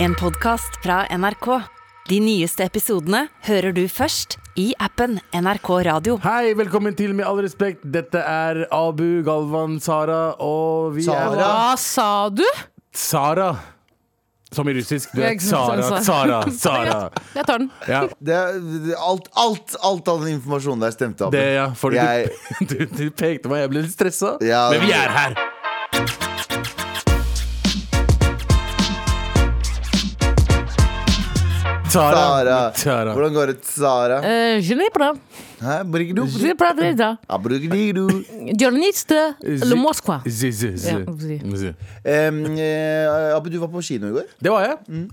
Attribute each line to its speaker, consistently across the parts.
Speaker 1: En podcast fra NRK. De nyeste episodene hører du først i appen NRK Radio.
Speaker 2: Hei, velkommen til Med all respekt. Dette er Abu, Galvan, Sara og vi er
Speaker 3: Sara.
Speaker 4: Hva sa du?
Speaker 2: Sara. Som i russisk. Du
Speaker 4: Jeg
Speaker 2: vet
Speaker 4: synes
Speaker 2: Sara,
Speaker 4: det er
Speaker 2: Sara, Sara.
Speaker 4: Jeg tar den.
Speaker 2: Ja,
Speaker 3: Det, det- alt, alt, alt av den informasjonen der stemte. Abu.
Speaker 2: det, ja. For
Speaker 3: Jeg-
Speaker 2: du, du, du pekte meg, jeg ble litt stressa.
Speaker 3: Ja.
Speaker 2: Men vi er her. Sara.
Speaker 3: Sara.
Speaker 2: Sara.
Speaker 3: Hvordan går det, Sara?
Speaker 4: Eh, Je n'ai pas.
Speaker 3: Hæ? Brigdu?
Speaker 4: Je n'ai pas de da.
Speaker 3: Ja, brigdu.
Speaker 4: Je n'ai pas de le Moskva.
Speaker 2: Z, z, z.
Speaker 4: Ja, si.
Speaker 2: Z.
Speaker 3: Em, eh, Abu, du var på kino i går.
Speaker 2: Det var jeg.
Speaker 3: Mm.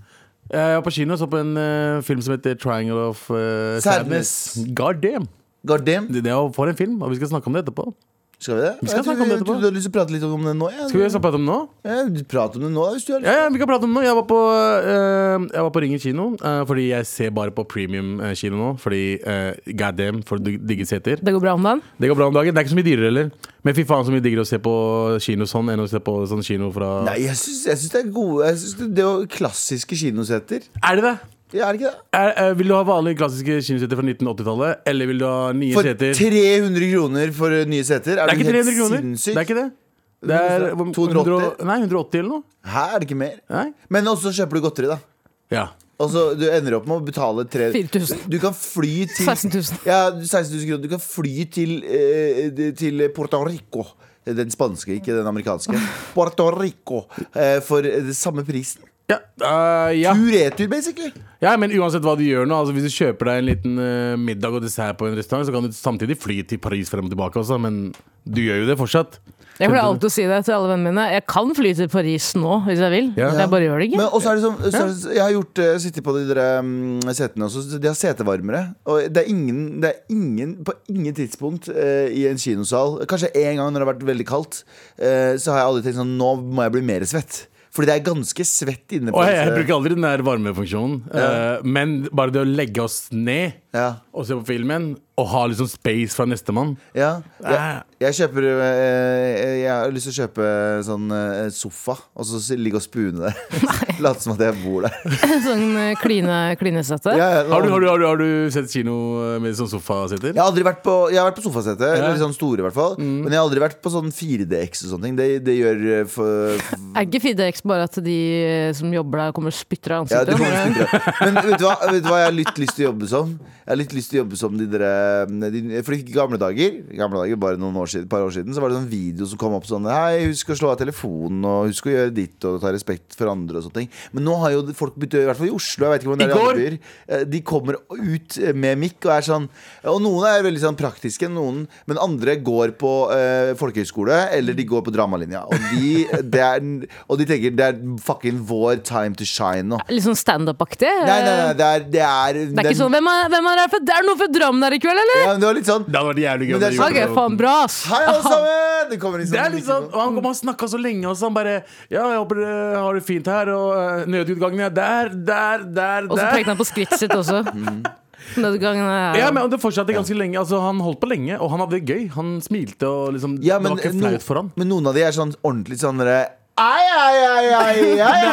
Speaker 2: Jeg var på kino og så på en eh, film som heter 'Triangle of eh,
Speaker 3: Sadness.
Speaker 2: Sadness'. God damn!
Speaker 3: God damn.
Speaker 2: Det det er jo for en film, og vi skal snakke om det etterpå.
Speaker 3: Mm. Skal vi det?
Speaker 2: Vi skal
Speaker 3: Jeg
Speaker 2: snakke om
Speaker 3: tror-
Speaker 2: det etterpå.
Speaker 3: tror Du har lyst til å prate litt om det nå? Ja.
Speaker 2: Skal vi også prate om det nå?
Speaker 3: Ja, du prater om det nå hvis du har lyst.
Speaker 2: Ja, ja, vi kan prate om det nå. Jeg var på, eh, jeg var på Ringer kino, eh, fordi jeg ser bare på premium eh, kino nå. Fordi eh, god damn, for du digger seter.
Speaker 4: Det går bra om dagen?
Speaker 2: Det går bra om dagen. Det er ikke så mye dyrere heller. Men fy faen så mye diggere å se på kino sånn enn å se på sånn kino fra
Speaker 3: Nei, jeg syns, jeg syns det er gode Jeg synes det, det er jo klassiske kinosetter.
Speaker 2: Er det det?
Speaker 3: Ja, er det ikke det?
Speaker 2: Er, eh, vil du ha vanlige klassiske kinoseter fra 1980-tallet, eller vil du ha nye
Speaker 3: For
Speaker 2: seter?
Speaker 3: 300 kroner for eh, nye seter? Er
Speaker 2: Det er ikke
Speaker 3: helt
Speaker 2: 300 kroner.
Speaker 3: sinnssykt?
Speaker 2: Det er ikke det. Det er hvor-
Speaker 3: 280?
Speaker 2: 100 Nei, 180 eller noe.
Speaker 3: Hæ, er det ikke mer?
Speaker 2: Nei?
Speaker 3: Men også kjøper du godteri, da.
Speaker 2: Ja.
Speaker 3: Altså, du ender opp med å betale tre-
Speaker 4: 4000.
Speaker 3: Du kan fly til
Speaker 4: 16 000.
Speaker 3: Ja, 16 000 kroner. Du kan fly til, eh, det- til Puerto Rico. Den spanske, ikke den amerikanske. Puerto Rico. Eh, for det samme prisen.
Speaker 2: Ja, eh, ja.
Speaker 3: Uretur, basically.
Speaker 2: ja, men uansett hva du gjør nå, altså hvis du kjøper deg en liten eh, middag og dessert på en restaurant, så kan du samtidig fly til Paris frem og tilbake også, men du gjør jo det fortsatt.
Speaker 4: Jeg pleier alltid å si det til alle vennene mine. Jeg kan fly til Paris nå hvis jeg vil.
Speaker 2: Ja.
Speaker 4: Jeg bare gjør det
Speaker 3: Men
Speaker 4: ikke.
Speaker 3: også er det sånn, så er det, jeg har gjort, eh, sittet på de der mm, setene også. så De har setevarmere. Og det er ingen, det er ingen på ingen tidspunkt eh, i en kinosal Kanskje én gang når det har vært veldig kaldt, eh, så har jeg aldri tenkt sånn Nå må jeg bli mer svett. Fordi det er ganske svett inne på
Speaker 2: Og jeg, jeg
Speaker 3: disse-
Speaker 2: bruker aldri den der varmefunksjonen, eh, men bare det å legge oss ned
Speaker 3: ja,
Speaker 2: og se på filmen, og ha liksom space fra nestemann
Speaker 3: ja. Jeg,
Speaker 2: ja.
Speaker 3: jeg kjøper eh, Jeg har lyst til å kjøpe sånn eh, sofa, og så s- ligge og spune der. Late som at jeg bor der.
Speaker 4: Sånn eh, kline, klinesette.
Speaker 3: Ja, ja,
Speaker 2: har, du, har, du, har, du, har du sett kino med sånn sofaseter?
Speaker 3: Jeg har aldri vært på, jeg har vært på sofasete,
Speaker 2: Ja.
Speaker 3: eller sånn store i hvert fall. Men jeg har aldri vært på sånn 4DX og sånne ting. Det, det gjør eh, for,
Speaker 4: Er ikke Fidex bare at de eh, som jobber der, kommer og spytter av
Speaker 3: ja, det
Speaker 4: ansiktet?
Speaker 3: kommer til å bli bra. Men vet du, hva, vet du hva jeg har litt lyst til å jobbe som? Jeg har litt lyst til å jobbe som de dere de, For i gamle dager, i gamle dager bare noen år siden, et par år siden, så var det sånn video som kom opp sånn Hei, husk å slå av telefonen, og husk å gjøre ditt, og ta respekt for andre og sånne ting. Men nå har jo folk begynt å I hvert fall i Oslo, jeg vet ikke hvordan det er i
Speaker 2: I
Speaker 3: andre
Speaker 2: går-
Speaker 3: byer. Eh, De kommer ut med mikk og er sånn Og noen er veldig sånn praktiske, noen, men andre går på eh, folkehøyskole eller de går på dramalinja. Og de, det er, og de tenker det er fucking vår time to shine nå.
Speaker 4: Litt sånn standup-aktig? Eh,
Speaker 3: Nei, nei, nei, det er Det er,
Speaker 4: Det er ikke sånn hvem er, hvem er her fra Det er noen fra Drammen her i kveld, eller?
Speaker 3: ja, men Det var litt sånn
Speaker 2: Det hadde vært jævlig gøy
Speaker 3: Men
Speaker 2: om
Speaker 3: det er
Speaker 2: dere
Speaker 3: så-
Speaker 2: gjorde
Speaker 4: Ok,
Speaker 2: det.
Speaker 4: faen, bra, ass.
Speaker 3: Hei, alle sammen! Det kommer liksom
Speaker 2: Det er litt sånn, og Han, han snakka så lenge, og så han bare Ja, jeg håper dere har det fint her, og eh, nødutgangen er der, der, der,
Speaker 4: Og så
Speaker 2: der.
Speaker 4: pekte han på skrittet sitt også.
Speaker 3: Mm.
Speaker 4: Nødgangen er
Speaker 2: Ja, men Det fortsatte ganske lenge. Altså, Han holdt på lenge, og han hadde det gøy. Han smilte, og liksom
Speaker 3: ja, men,
Speaker 2: Det var ikke
Speaker 3: no,
Speaker 2: flaut for han.
Speaker 3: men noen av de er sånn ordentlig sånn derre Ai, ai, ai, ai, ai, ai. Ja, ja,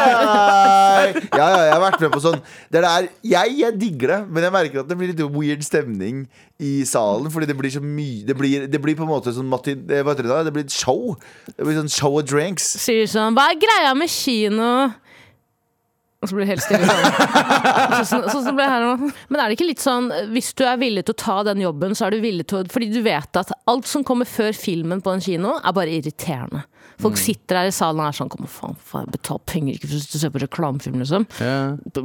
Speaker 3: jeg har vært med på sånn det der, jeg, jeg digger det, men jeg merker at det blir litt weird stemning i salen. Fordi det blir så mye Det blir, det blir på en måte sånn matin, eh, hva heter det da? Det blir et show. Det blir sånn show of drinks.
Speaker 4: sier sånn Hva er greia med kino? Og så blir det helt stille. Sånn så, så, så ble jeg her nå. Men er det ikke litt sånn hvis du er villig til å ta den jobben, så er du villig til å Fordi du vet at alt som kommer før filmen på en kino, er bare irriterende.
Speaker 2: Mm.
Speaker 4: Folk sitter her i salen og er sånn Kom, faen, faen betal penger ikke for å se på reklamefilm, liksom.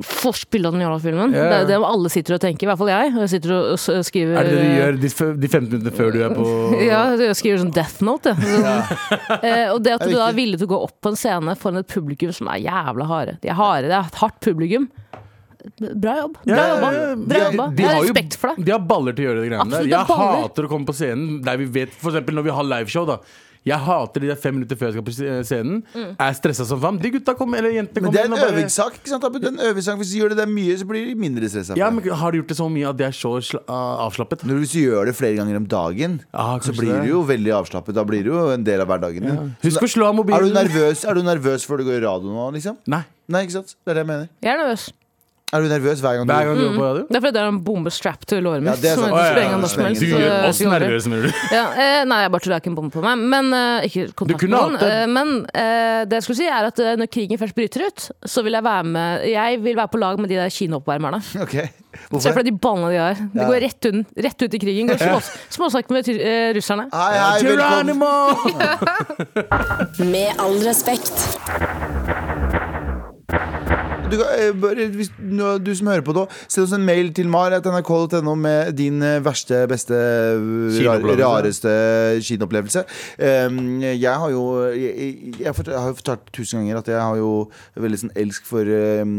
Speaker 4: Forspill av den jævla filmen.
Speaker 2: Ja.
Speaker 4: Det er jo det alle sitter og tenker, i hvert fall jeg. Jeg sitter og og s- skriver
Speaker 2: Er det det du gjør de, f- de 15 minuttene før du er på
Speaker 4: ja, jeg skriver sånn death note. jeg. Sånn, eh, og det at
Speaker 3: Det er
Speaker 4: du da
Speaker 3: viktig.
Speaker 4: er villig til å gå opp på en scene foran et publikum som er jævla harde. De er harde, det er et hardt publikum. Bra jobb. Bra
Speaker 2: Ja,
Speaker 4: jobba.
Speaker 2: ja, ja.
Speaker 4: Bra jobba. Jeg har
Speaker 2: jo-
Speaker 4: respekt for deg.
Speaker 2: De har baller til å gjøre de greiene der.
Speaker 4: Absolutt, de har
Speaker 2: Jeg
Speaker 4: baller.
Speaker 2: hater å komme på scenen der vi vet For eksempel når vi har liveshow, da. Jeg hater de der fem minutter før jeg skal på sc- scenen.
Speaker 4: Mm.
Speaker 2: Er stressa som faen. De gutta kommer, eller jentene kommer.
Speaker 3: Men det er
Speaker 2: inn
Speaker 3: en
Speaker 2: og bare-
Speaker 3: øvingssak. ikke sant? Abu? Det er en øvingssak Hvis du gjør det der mye, så blir de mindre stressa.
Speaker 2: Ja, men Har du gjort det så mye at det er så sla ah, avslappet?
Speaker 3: Når du hvis du gjør det flere ganger om dagen,
Speaker 2: Ja,
Speaker 3: så
Speaker 2: kanskje
Speaker 3: blir
Speaker 2: det.
Speaker 3: du jo veldig avslappet. Da blir det jo en del av hverdagen din.
Speaker 2: Husk å slå av
Speaker 3: Er du
Speaker 2: mobilen.
Speaker 3: nervøs, er du nervøs før du går i radio nå, liksom?
Speaker 2: Nei.
Speaker 3: Nei, ikke sant? Det er det jeg mener.
Speaker 4: Jeg er nervøs.
Speaker 3: Er du nervøs hver gang du
Speaker 2: Hver gang du går på radio.
Speaker 4: Det er fordi det er en bombe strapped til låret
Speaker 3: Ja,
Speaker 4: mitt.
Speaker 3: det er
Speaker 4: som
Speaker 3: sant. Å,
Speaker 4: jeg
Speaker 3: ja,
Speaker 4: sprenger
Speaker 3: ja,
Speaker 4: når som helst,
Speaker 3: Du
Speaker 2: Du
Speaker 3: gjør
Speaker 4: så
Speaker 2: gjør
Speaker 4: det
Speaker 2: oss
Speaker 4: går aldri.
Speaker 2: nervøse, mener du.
Speaker 4: Ja, eh, nei, jeg bare tror det er ikke en bombe på meg. Men, eh, ikke kontakt
Speaker 2: Du kunne
Speaker 4: med noen.
Speaker 2: hatt det.
Speaker 4: Eh, men eh, det jeg skulle si er at eh, når krigen først bryter ut, så vil jeg være med Jeg vil være på lag med de der kinooppvarmerne.
Speaker 3: Ok,
Speaker 4: Se for
Speaker 3: hvorfor?
Speaker 4: deg de ballene de har. De
Speaker 3: Ja.
Speaker 4: går rett, un, rett ut i krigen. Går smås, småsnakk med ty- eh, russerne.
Speaker 3: Hei, hei, velkommen
Speaker 2: Geronimo!
Speaker 1: Med all respekt.
Speaker 3: du, kan, eh, bare, hvis, nå- du som hører på da Send oss en mail til mar.nrk.no Med din eh, verste, beste eh, rar,
Speaker 2: Kinoopplevelse.
Speaker 3: Rareste kinoopplevelse Em, Jeg har jo Jeg, jeg, jeg, fort- jeg har jo fortalt tusen ganger At jeg har jo veldig sånn elsk for em,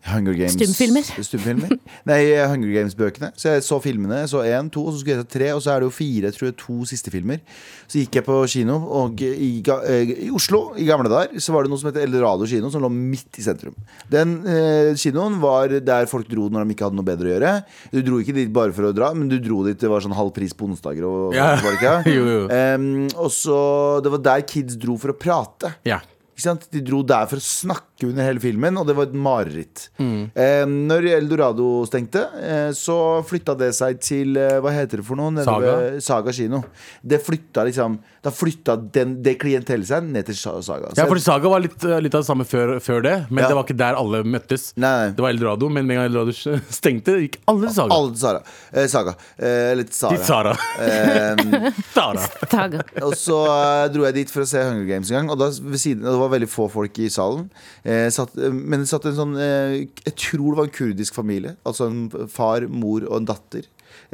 Speaker 3: Hunger Games
Speaker 4: Stumfilmer.
Speaker 3: Stumfilmer. Nei, Hunger Games-bøkene. Så jeg så filmene. Jeg så én, to, og så skulle jeg se tre. Og så er det jo fire, tror jeg, to siste filmer. Så gikk jeg på kino, og i, ga- eh, i Oslo, i gamle dager, så var det noe som het Eldorado kino, som lå midt i sentrum. Den eh, kinoen var der folk dro når de ikke hadde noe bedre å gjøre. Du dro ikke dit bare for å dra, men du dro dit det var sånn halv pris på onsdager og
Speaker 2: Ja.
Speaker 3: var det ikke?
Speaker 2: Jo, jo.
Speaker 3: Em, og så Det var der kids dro for å prate.
Speaker 2: Ja.
Speaker 3: Ikke sant? De dro der for å snakke under hele filmen, og det var et mareritt. Eh, når Eldorado stengte, eh, så flytta det seg til eh, Hva heter det for noe? Nede
Speaker 2: Saga?
Speaker 3: ved Saga kino. Det flytta liksom Da flytta den, det klientellet seg ned til Sa- Saga.
Speaker 2: ja, for Saga var litt, eh, litt av det samme før, før det, men
Speaker 3: Ja.
Speaker 2: det var ikke der alle møttes.
Speaker 3: Nei, nei.
Speaker 2: Det var Eldorado, men med en gang Eldorado stengte, gikk alle til Saga.
Speaker 3: Alle til Sara. Eh, Saga. Eh, eller til
Speaker 2: Til
Speaker 3: Sara.
Speaker 2: Sara.
Speaker 3: Eh,
Speaker 2: Sara.
Speaker 4: Taga.
Speaker 3: og så eh, dro jeg dit for å se Hunger Games en gang, og, da, ved siden, og det var veldig få folk i salen. Eh, satt, eh, men det satt en sånn eh, Jeg tror det var en kurdisk familie. Altså en far, mor og en datter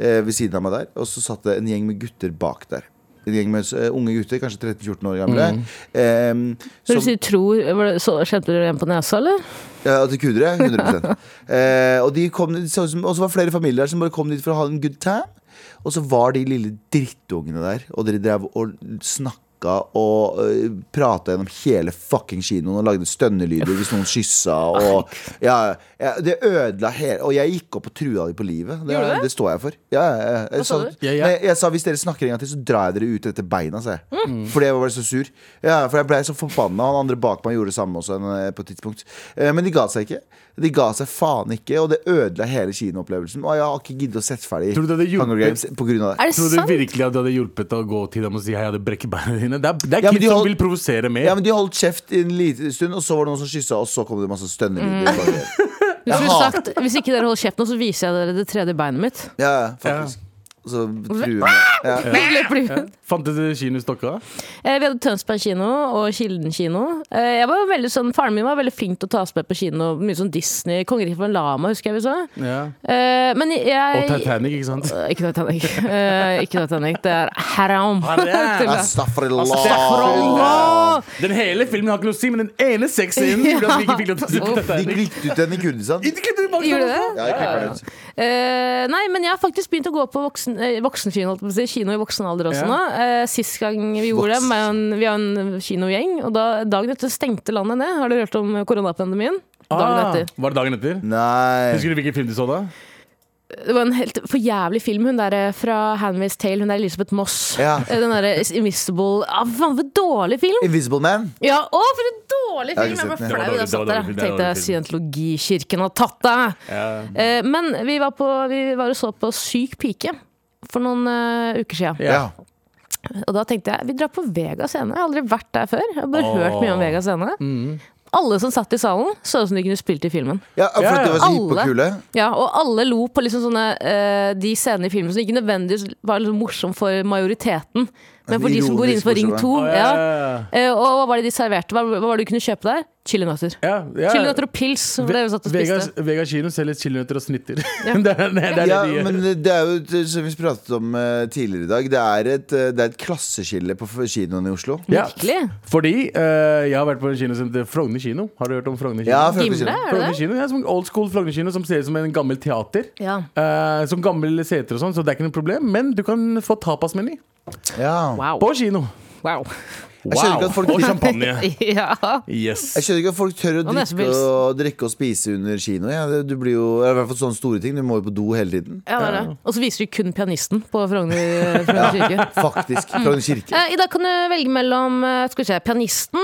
Speaker 3: eh, ved siden av meg der. Og så satt det en gjeng med gutter bak der. En gjeng med eh, unge gutter, kanskje 13-14 år gamle. Eh,
Speaker 4: Når du
Speaker 3: som-
Speaker 4: sier tror, var det, så kjente du en på nesa, eller?
Speaker 3: ja, altså, til kurdere, 100 eh, Og de kom, det så ut som- og så var det flere familier der som bare kom dit for å ha en good time. Og så var de lille drittungene der, og dere drev og snakka og uh, prata gjennom hele fucking kinoen og lagde stønnelyder hvis noen kyssa og ja, ja, Det ødela hele Og jeg gikk opp og trua de på livet. Det,
Speaker 4: Gjorde du det?
Speaker 3: det står jeg for. Ja, ja, ja. Jeg
Speaker 4: Hva sa
Speaker 3: sa-
Speaker 4: du?
Speaker 2: Ja, ja.
Speaker 3: Nei, jeg sa hvis dere snakker en gang til, så drar jeg dere ut etter beina, sa jeg. Fordi jeg var bare så sur. Ja, for jeg blei så forbanna. Han andre bak meg gjorde det samme også en, eh, på et tidspunkt. Eh, Men de ga seg ikke. De ga seg faen ikke, og det ødela hele kinoopplevelsen. Og jeg har ikke giddet å sette ferdig
Speaker 2: Tror du det hadde hjulpet?
Speaker 3: Hunger Games på grunn av det.
Speaker 4: Er det
Speaker 2: Tror du
Speaker 4: sant?
Speaker 2: virkelig at det hadde hjulpet å gå til dem og si hei, jeg hadde brekket beina dine? Det er, det er
Speaker 3: Ja, men
Speaker 2: kids
Speaker 3: de
Speaker 2: som
Speaker 3: hold-
Speaker 2: vil provosere mer.
Speaker 3: Ja, men De holdt kjeft i en liten stund, og så var det noen som kyssa, og så kom det masse stønnelyder.
Speaker 4: Hvis, du
Speaker 3: Jaha.
Speaker 4: sagt, hvis ikke dere holder kjeft nå, så viser jeg dere det tredje beinet mitt.
Speaker 3: Ja, ja, faktisk. Og så truer man. Ja.
Speaker 4: Løper de ut.
Speaker 2: Fantes det kino i Stokka?
Speaker 4: Eh, Vi hadde Tønsberg kino og Kilden kino. Eh, Jeg var jo veldig sånn, Faren min var veldig flink til å ta oss med på kino. Mye sånn Disney. 'Kongeriket for en lama' husker jeg vi så.
Speaker 2: Ja.
Speaker 4: Eh, Men jeg
Speaker 2: Og Titanic, ikke sant?
Speaker 4: Eh, Ikke Titanic. Eh, Ikke Titanic, det er haram.
Speaker 2: Haram.
Speaker 4: Til-
Speaker 3: Altså,
Speaker 2: Altså,
Speaker 3: Astafrillah.
Speaker 4: Astaghfirullah.
Speaker 2: Den hele filmen har ikke noe å si, men den ene sexscenen gjorde at vi ikke fikk lov til å se på
Speaker 3: De
Speaker 2: Titanic.
Speaker 3: klippet ut den i Kurdistan.
Speaker 2: Ikke klippet tilbake.
Speaker 4: Gjorde det?
Speaker 3: Ja, jeg klipper den ut.
Speaker 4: Eh, nei, men jeg har faktisk begynt å gå på voksen, eh, voksenkino holdt jeg på å si, kino i voksen alder også
Speaker 2: Ja.
Speaker 4: nå. Eh, sist gang vi gjorde det,
Speaker 3: Voksen.
Speaker 4: var jo en, vi har en kinogjeng, og da, dagen etter stengte landet ned. Har dere hørt om koronapandemien? Dagen
Speaker 2: Ah,
Speaker 4: etter.
Speaker 2: Var det dagen etter?
Speaker 3: Nei.
Speaker 2: Husker du hvilken film du så da?
Speaker 4: Det var en helt for jævlig film, hun der eh, fra Handmaid's Tale, hun der Elisabeth Moss.
Speaker 3: Ja.
Speaker 4: Eh, Den derre Invisible ah, Faen, for en dårlig film!
Speaker 3: Invisible Man.
Speaker 4: Ja, å, for en dårlig
Speaker 3: Jeg har
Speaker 4: film!
Speaker 3: ikke
Speaker 4: Jeg
Speaker 3: sett
Speaker 4: ble
Speaker 3: den.
Speaker 2: Det
Speaker 4: flau
Speaker 2: var
Speaker 4: da
Speaker 2: dårlig,
Speaker 4: jeg
Speaker 2: det
Speaker 4: satt
Speaker 2: var
Speaker 4: der.
Speaker 2: dårlig, det var
Speaker 4: Tenkte
Speaker 2: dårlig film.
Speaker 4: scientologikirken har tatt deg! Eh, Men vi var, på, vi var og så på Syk pike for noen eh, uker siden.
Speaker 3: Ja.
Speaker 4: Og da tenkte jeg vi drar på Vega scene. Jeg har aldri vært der før. Jeg har bare
Speaker 2: Åh.
Speaker 4: hørt mye om Vega scene. Alle som satt i salen, så ut som de kunne spilt i filmen.
Speaker 3: Ja, for at de var så hippe og
Speaker 4: Alle.
Speaker 3: kule.
Speaker 4: Ja, Og alle lo på liksom sånne, eh, de scenene i filmen som ikke nødvendigvis var liksom morsom for majoriteten, men for de som går
Speaker 3: Ironisk
Speaker 4: innenfor Ring
Speaker 2: Å,
Speaker 3: morsomme.
Speaker 4: 2. Oh, ja.
Speaker 2: Ah, ja.
Speaker 4: Eh, og hva var det de serverte? Hva, hva var det du kunne kjøpe der? Chilinøtter.
Speaker 2: Ja, ja.
Speaker 4: Chilinøtter og pils. Var det vi satt og spiste.
Speaker 2: Vegas, Vegas kino selger chilinøtter og snitter. det er det, er det
Speaker 3: Ja,
Speaker 2: de gjør.
Speaker 3: men det er jo, et- som vi pratet om eh, tidligere i dag, det er et, eh, det er et klasseskille på f- kinoen i Oslo.
Speaker 2: Ja,
Speaker 4: Virkelig?
Speaker 2: Fordi eh, jeg har vært på en kino som heter Frogner kino. Har du hørt om Frogner kino?
Speaker 3: Ja, for-
Speaker 4: Gimle, er det
Speaker 2: Frogner
Speaker 4: det?
Speaker 2: kino, ja, som Old school Frogner kino som ser ut som en gammel teater.
Speaker 4: Ja.
Speaker 2: Eh, som gammel seter og sånn, så det er ikke noe problem. Men du kan få tapasmeny
Speaker 3: Ja.
Speaker 4: Wow.
Speaker 2: på kino.
Speaker 4: Wow.
Speaker 3: Jeg skjønner ikke at folk-
Speaker 2: Og champagne.
Speaker 4: ja.
Speaker 2: Yes.
Speaker 3: Jeg skjønner ikke at folk tør å
Speaker 4: Og
Speaker 3: drikke
Speaker 4: nesepils.
Speaker 3: og, drikke og spise under kino. Ja, det- du blir jo, I hvert fall sånne store ting. Du må jo på do hele tiden.
Speaker 4: ja det er det. Og så viser de kun pianisten på Frogner Frogner kirke.
Speaker 3: Faktisk. Fra en kirke.
Speaker 4: Eh, I dag kan du velge mellom eh, skal vi se, pianisten,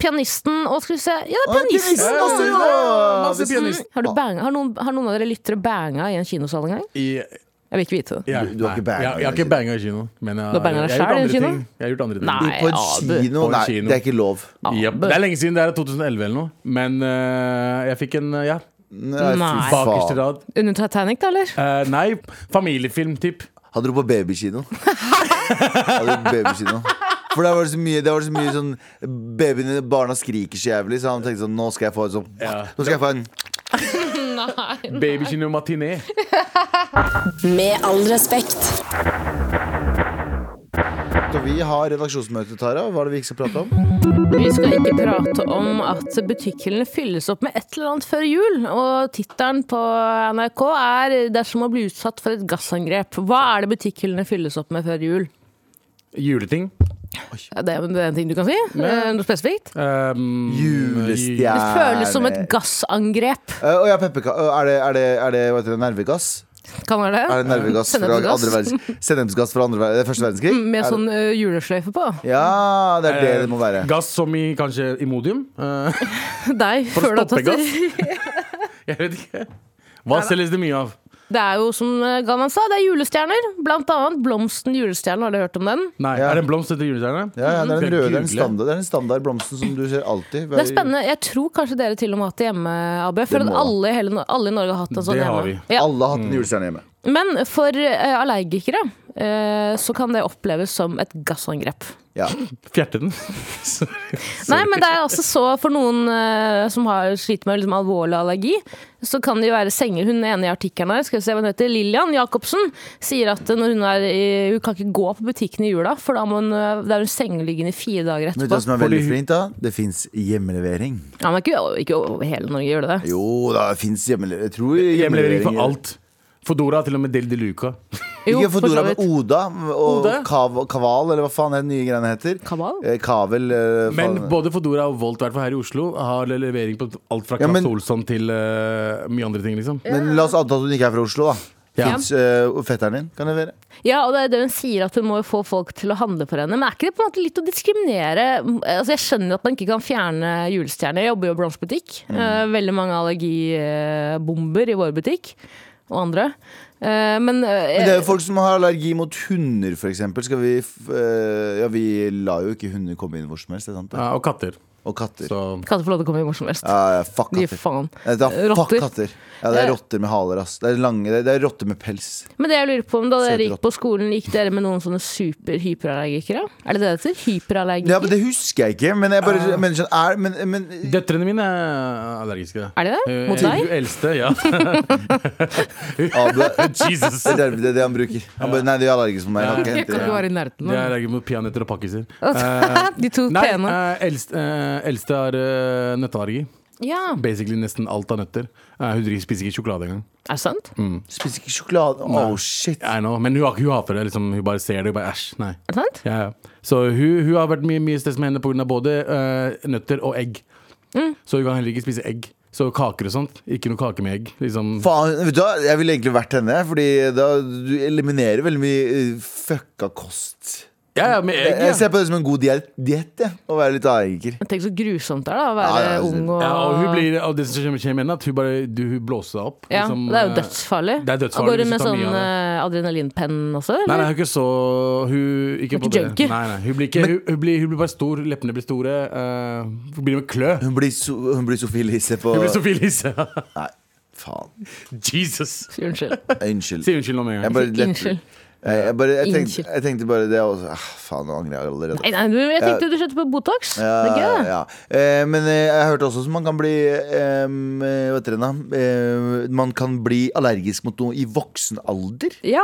Speaker 4: pianisten og skal vi se, ja,
Speaker 3: Å,
Speaker 4: pianisten!
Speaker 3: pianisten,
Speaker 4: også,
Speaker 3: også,
Speaker 4: ja.
Speaker 3: ja.
Speaker 2: Masse pianist.
Speaker 4: Har, du bang, har, noen, har noen av dere lyttere banga i en kinosal en gang?
Speaker 2: I-
Speaker 4: Jeg vil ikke vite det.
Speaker 2: ja,
Speaker 3: Du- du har
Speaker 2: nei.
Speaker 3: ikke
Speaker 2: Jeg,
Speaker 3: banga
Speaker 2: jeg har
Speaker 3: i
Speaker 2: ikke
Speaker 3: kino.
Speaker 2: banga i kino. Men jeg,
Speaker 4: Du har banga
Speaker 2: jeg,
Speaker 4: deg
Speaker 2: jeg, har
Speaker 4: selv
Speaker 2: gjort
Speaker 4: i
Speaker 2: andre
Speaker 4: kino?
Speaker 2: ting. jeg har gjort andre ting.
Speaker 4: Nei.
Speaker 3: På en
Speaker 4: Abu.
Speaker 3: kino?
Speaker 2: På en
Speaker 3: Nei,
Speaker 2: kino.
Speaker 3: det er ikke lov.
Speaker 2: Jep. Det er lenge siden. Det er 2011 eller noe. Men øh, jeg fikk en øh, ja,
Speaker 3: Nei,
Speaker 4: Nei.
Speaker 3: fy
Speaker 2: bakerste
Speaker 3: faen.
Speaker 2: rad.
Speaker 4: Under Titanic, da, eller?
Speaker 2: Eh, nei, familiefilm-tipp.
Speaker 3: Han dro på babykino. Han dro på babykino. For der var det så mye, der var det så mye sånn Babyene, barna skriker så jævlig, så han tenkte sånn Nå skal jeg få en sånn Nå skal jeg få en
Speaker 2: Babykino matiné.
Speaker 1: Med all respekt.
Speaker 3: Så vi har redaksjonsmøte, Tara. Hva er det vi ikke skal prate om?
Speaker 4: Vi skal ikke prate om at butikkhyllene fylles opp med et eller annet før jul. Og tittelen på NRK er 'Det er som å bli utsatt for et gassangrep'. Hva er det butikkhyllene fylles opp med før jul?
Speaker 2: Juleting.
Speaker 4: Ja, Det er det er en ting du kan si? Eh, Noe spesifikt?
Speaker 2: Um,
Speaker 3: Julestjerne.
Speaker 4: Det føles som et gassangrep.
Speaker 3: Eh, Å ja, pepperka... eh, Er det, er det, er det hva heter det, nervegass?
Speaker 4: Kan være det?
Speaker 3: Er det nervegass fra
Speaker 4: Sennepsgass.
Speaker 3: andre verdenskrig? Sennepsgass fra andre ver- eh, første verdenskrig?
Speaker 4: Med
Speaker 3: Er det-
Speaker 4: sånn eh, julesløyfe på.
Speaker 3: Ja, det er det det må være.
Speaker 2: eh, Gass som i kanskje Imodium. Eh,
Speaker 4: Deg,
Speaker 2: For å
Speaker 4: før du har
Speaker 2: stoppe
Speaker 4: tatt det.
Speaker 2: jeg vet ikke. Hva selges det mye av?
Speaker 4: Det er jo som eh, Galvan sa, det er julestjerner. Blant annet Blomsten julestjerne, har du hørt om den?
Speaker 2: Nei,
Speaker 3: Ja.
Speaker 2: Er det en blomst etter julestjerne?
Speaker 3: Ja, ja, det
Speaker 2: Skal
Speaker 3: er den
Speaker 2: jeg
Speaker 3: røde, det er den
Speaker 2: google?
Speaker 3: standard, det er den standard blomsten som du ser alltid.
Speaker 4: Det er spennende. Jeg tror kanskje dere til og med har hatt det hjemme, Abu. Jeg føler
Speaker 3: Det må
Speaker 4: at alle, i hele, Nor- alle i Norge har hatt en sånn
Speaker 2: Det har
Speaker 4: hjemme. Ja.
Speaker 3: Alle har hatt en julestjerne hjemme.
Speaker 4: Men for eh, allergikere eh, så kan det oppleves som et gassangrep.
Speaker 3: Ja.
Speaker 2: Fjerte den.
Speaker 4: Nei, men det er altså så for noen eh, som har sliter med liksom, alvorlig allergi, så kan det jo være senger. Hun ene i artikkelen her, skal vi se hva hun heter, Lillian Jacobsen, sier at eh, når hun er i, Hun kan ikke gå på butikken i jula, for da må hun, eh, da er hun sengeliggende i fire dager
Speaker 3: Men vet du
Speaker 4: etterpå.
Speaker 3: hva som er veldig fint, da? Det fins hjemmelevering.
Speaker 4: Ja, men ikke, ikke over hele Norge gjør det det.
Speaker 3: Jo da, det fins hjemmelevering. Jeg tror
Speaker 2: Hjemlevering for alt. Fodora, til og med Del de Luca.
Speaker 4: Jo,
Speaker 3: Ikke
Speaker 4: for så
Speaker 3: Fodora, men
Speaker 4: vidt.
Speaker 3: Oda og
Speaker 2: Oda?
Speaker 3: Kav, Kaval, eller hva faen er den nye greiene heter.
Speaker 4: Kaval?
Speaker 3: Eh, Kavel. eh,
Speaker 2: Men
Speaker 3: faen.
Speaker 2: både Fodora og Volt, i hvert fall her i Oslo, har levering på alt fra
Speaker 3: Ja,
Speaker 2: Klaus
Speaker 3: men-
Speaker 2: Olsson til eh, mye andre ting, liksom.
Speaker 3: Men la oss anta at hun ikke er fra Oslo, da.
Speaker 2: Ja.
Speaker 3: Fins eh, fetteren din kan levere.
Speaker 4: Ja, og det er det hun sier, at hun må jo få folk til å handle for henne. Men er ikke det på en måte litt å diskriminere? Altså, jeg skjønner at man ikke kan fjerne julestjerner. Jeg jobber jo i blomsterbutikk.
Speaker 3: Mm.
Speaker 4: Eh, Veldig mange allergibomber i vår butikk. Og andre. Eh,
Speaker 3: Men
Speaker 4: Men,
Speaker 3: det er jo folk som har allergi mot hunder, for eksempel. Skal vi f- eh, Ja, vi lar jo ikke hunder komme inn hvor som helst, det er sant? det?
Speaker 2: Ja, og katter.
Speaker 3: Og katter.
Speaker 2: Så
Speaker 4: Katter får lov til å komme hvor som helst.
Speaker 3: Ja, ja, fuck
Speaker 4: Gi
Speaker 3: katter.
Speaker 4: faen.
Speaker 3: Nei, da, fuck
Speaker 4: Rotter.
Speaker 3: katter. Ja, det er
Speaker 4: Ja.
Speaker 3: rotter med haler, ass. Det er, lange, det er- det er rotter med pels.
Speaker 4: Men det jeg lurer på om da dere
Speaker 3: Søte
Speaker 4: gikk på skolen, gikk dere med noen sånne superhyperallergikere? Er det det det heter? Hyperallergikere?
Speaker 3: Ja, men Det husker jeg ikke, men jeg bare
Speaker 2: Ah.
Speaker 3: mener sånn er, men, men,
Speaker 2: Døtrene mine er allergiske.
Speaker 4: Er de det?
Speaker 2: Eh,
Speaker 4: Mot deg?
Speaker 2: Hun eldste, ja.
Speaker 3: Abu, det,
Speaker 2: Jesus.
Speaker 3: er det, det er det han bruker. Han bare Nei, du er allergisk mot meg. Jeg kan
Speaker 4: Jeg
Speaker 3: ikke
Speaker 4: kan ikke
Speaker 3: hente det.
Speaker 4: være i
Speaker 2: De
Speaker 4: nærheten
Speaker 2: er
Speaker 4: av det.
Speaker 2: allergiske mot peanøtter og pakkiser.
Speaker 4: De to
Speaker 2: Nei,
Speaker 4: pene.
Speaker 2: eh, eldste, eh, eldste har eh, nøtteallergi.
Speaker 4: Ja,
Speaker 2: Basically nesten alt av nøtter. Eh, hun driver- spiser ikke sjokolade engang.
Speaker 4: er det sant?
Speaker 3: Mm. Spiser ikke sjokolade. Oh, shit.
Speaker 2: I know, men hun, har- hun hater det. Liksom, hun bare ser det og bare æsj. Nei.
Speaker 4: Er det sant?
Speaker 2: Ja, ja. Så hun, hun har vært mye, mye stress med henne pga. både eh, nøtter og egg.
Speaker 4: Mm.
Speaker 2: Så hun kan heller ikke spise egg. Så kaker og sånt. Ikke noe kake med egg. Liksom.
Speaker 3: Faen, vet du hva? Jeg ville egentlig vært henne, Fordi da du eliminerer veldig mye eh, fucka kost.
Speaker 2: Ja, ja, med
Speaker 3: Jeg,
Speaker 2: egg.
Speaker 3: jeg
Speaker 2: Ja.
Speaker 3: ser på det som en god diett, diett, jeg, å være litt allergiker.
Speaker 4: Men Tenk så grusomt det er da, å være
Speaker 3: Ja, ja,
Speaker 4: ung og,
Speaker 2: Ja, og hun blir, og det som skjer med- skjer med henne, er at hun, bare, du, hun blåser seg opp.
Speaker 4: Ja,
Speaker 2: liksom,
Speaker 4: Det er
Speaker 2: eh,
Speaker 4: jo dødsfarlig.
Speaker 2: det er dødsfarlig
Speaker 4: Går
Speaker 2: hvis
Speaker 4: hun med
Speaker 2: du tar
Speaker 4: sånn
Speaker 2: mye av det.
Speaker 4: eh, adrenalinpenn også?
Speaker 2: Nei, nei,
Speaker 4: Eller?
Speaker 2: hun er ikke så Hun, ikke
Speaker 4: Hun er
Speaker 2: på
Speaker 4: ikke
Speaker 2: det.
Speaker 4: junkie.
Speaker 2: Nei, nei, hun, blir ikke, hun, hun, blir, hun blir bare stor, leppene blir store. eh, hun blir med klø.
Speaker 3: Hun blir, so, hun blir Sophie Elise på
Speaker 2: Hun blir Sophie Elise.
Speaker 3: Nei, faen.
Speaker 2: Jesus!
Speaker 4: Unnskyld.
Speaker 3: Unnskyld.
Speaker 2: Si unnskyld nå med en
Speaker 3: Jeg
Speaker 2: gang.
Speaker 3: bare,
Speaker 4: Unnskyld.
Speaker 3: Jeg, jeg, bare, jeg, tenkte,
Speaker 4: Unnskyld.
Speaker 3: jeg tenkte bare det og så- ah, Faen, nå angrer jeg allerede.
Speaker 4: Nei, nei, du, jeg tenkte du kjøpte på Botox. det er gøy.
Speaker 3: Ja,
Speaker 4: det.
Speaker 3: ja. Eh, men eh, jeg hørte også at man kan bli eh, Hva heter det da? Eh, man kan bli allergisk mot noe i voksen alder.
Speaker 4: Ja.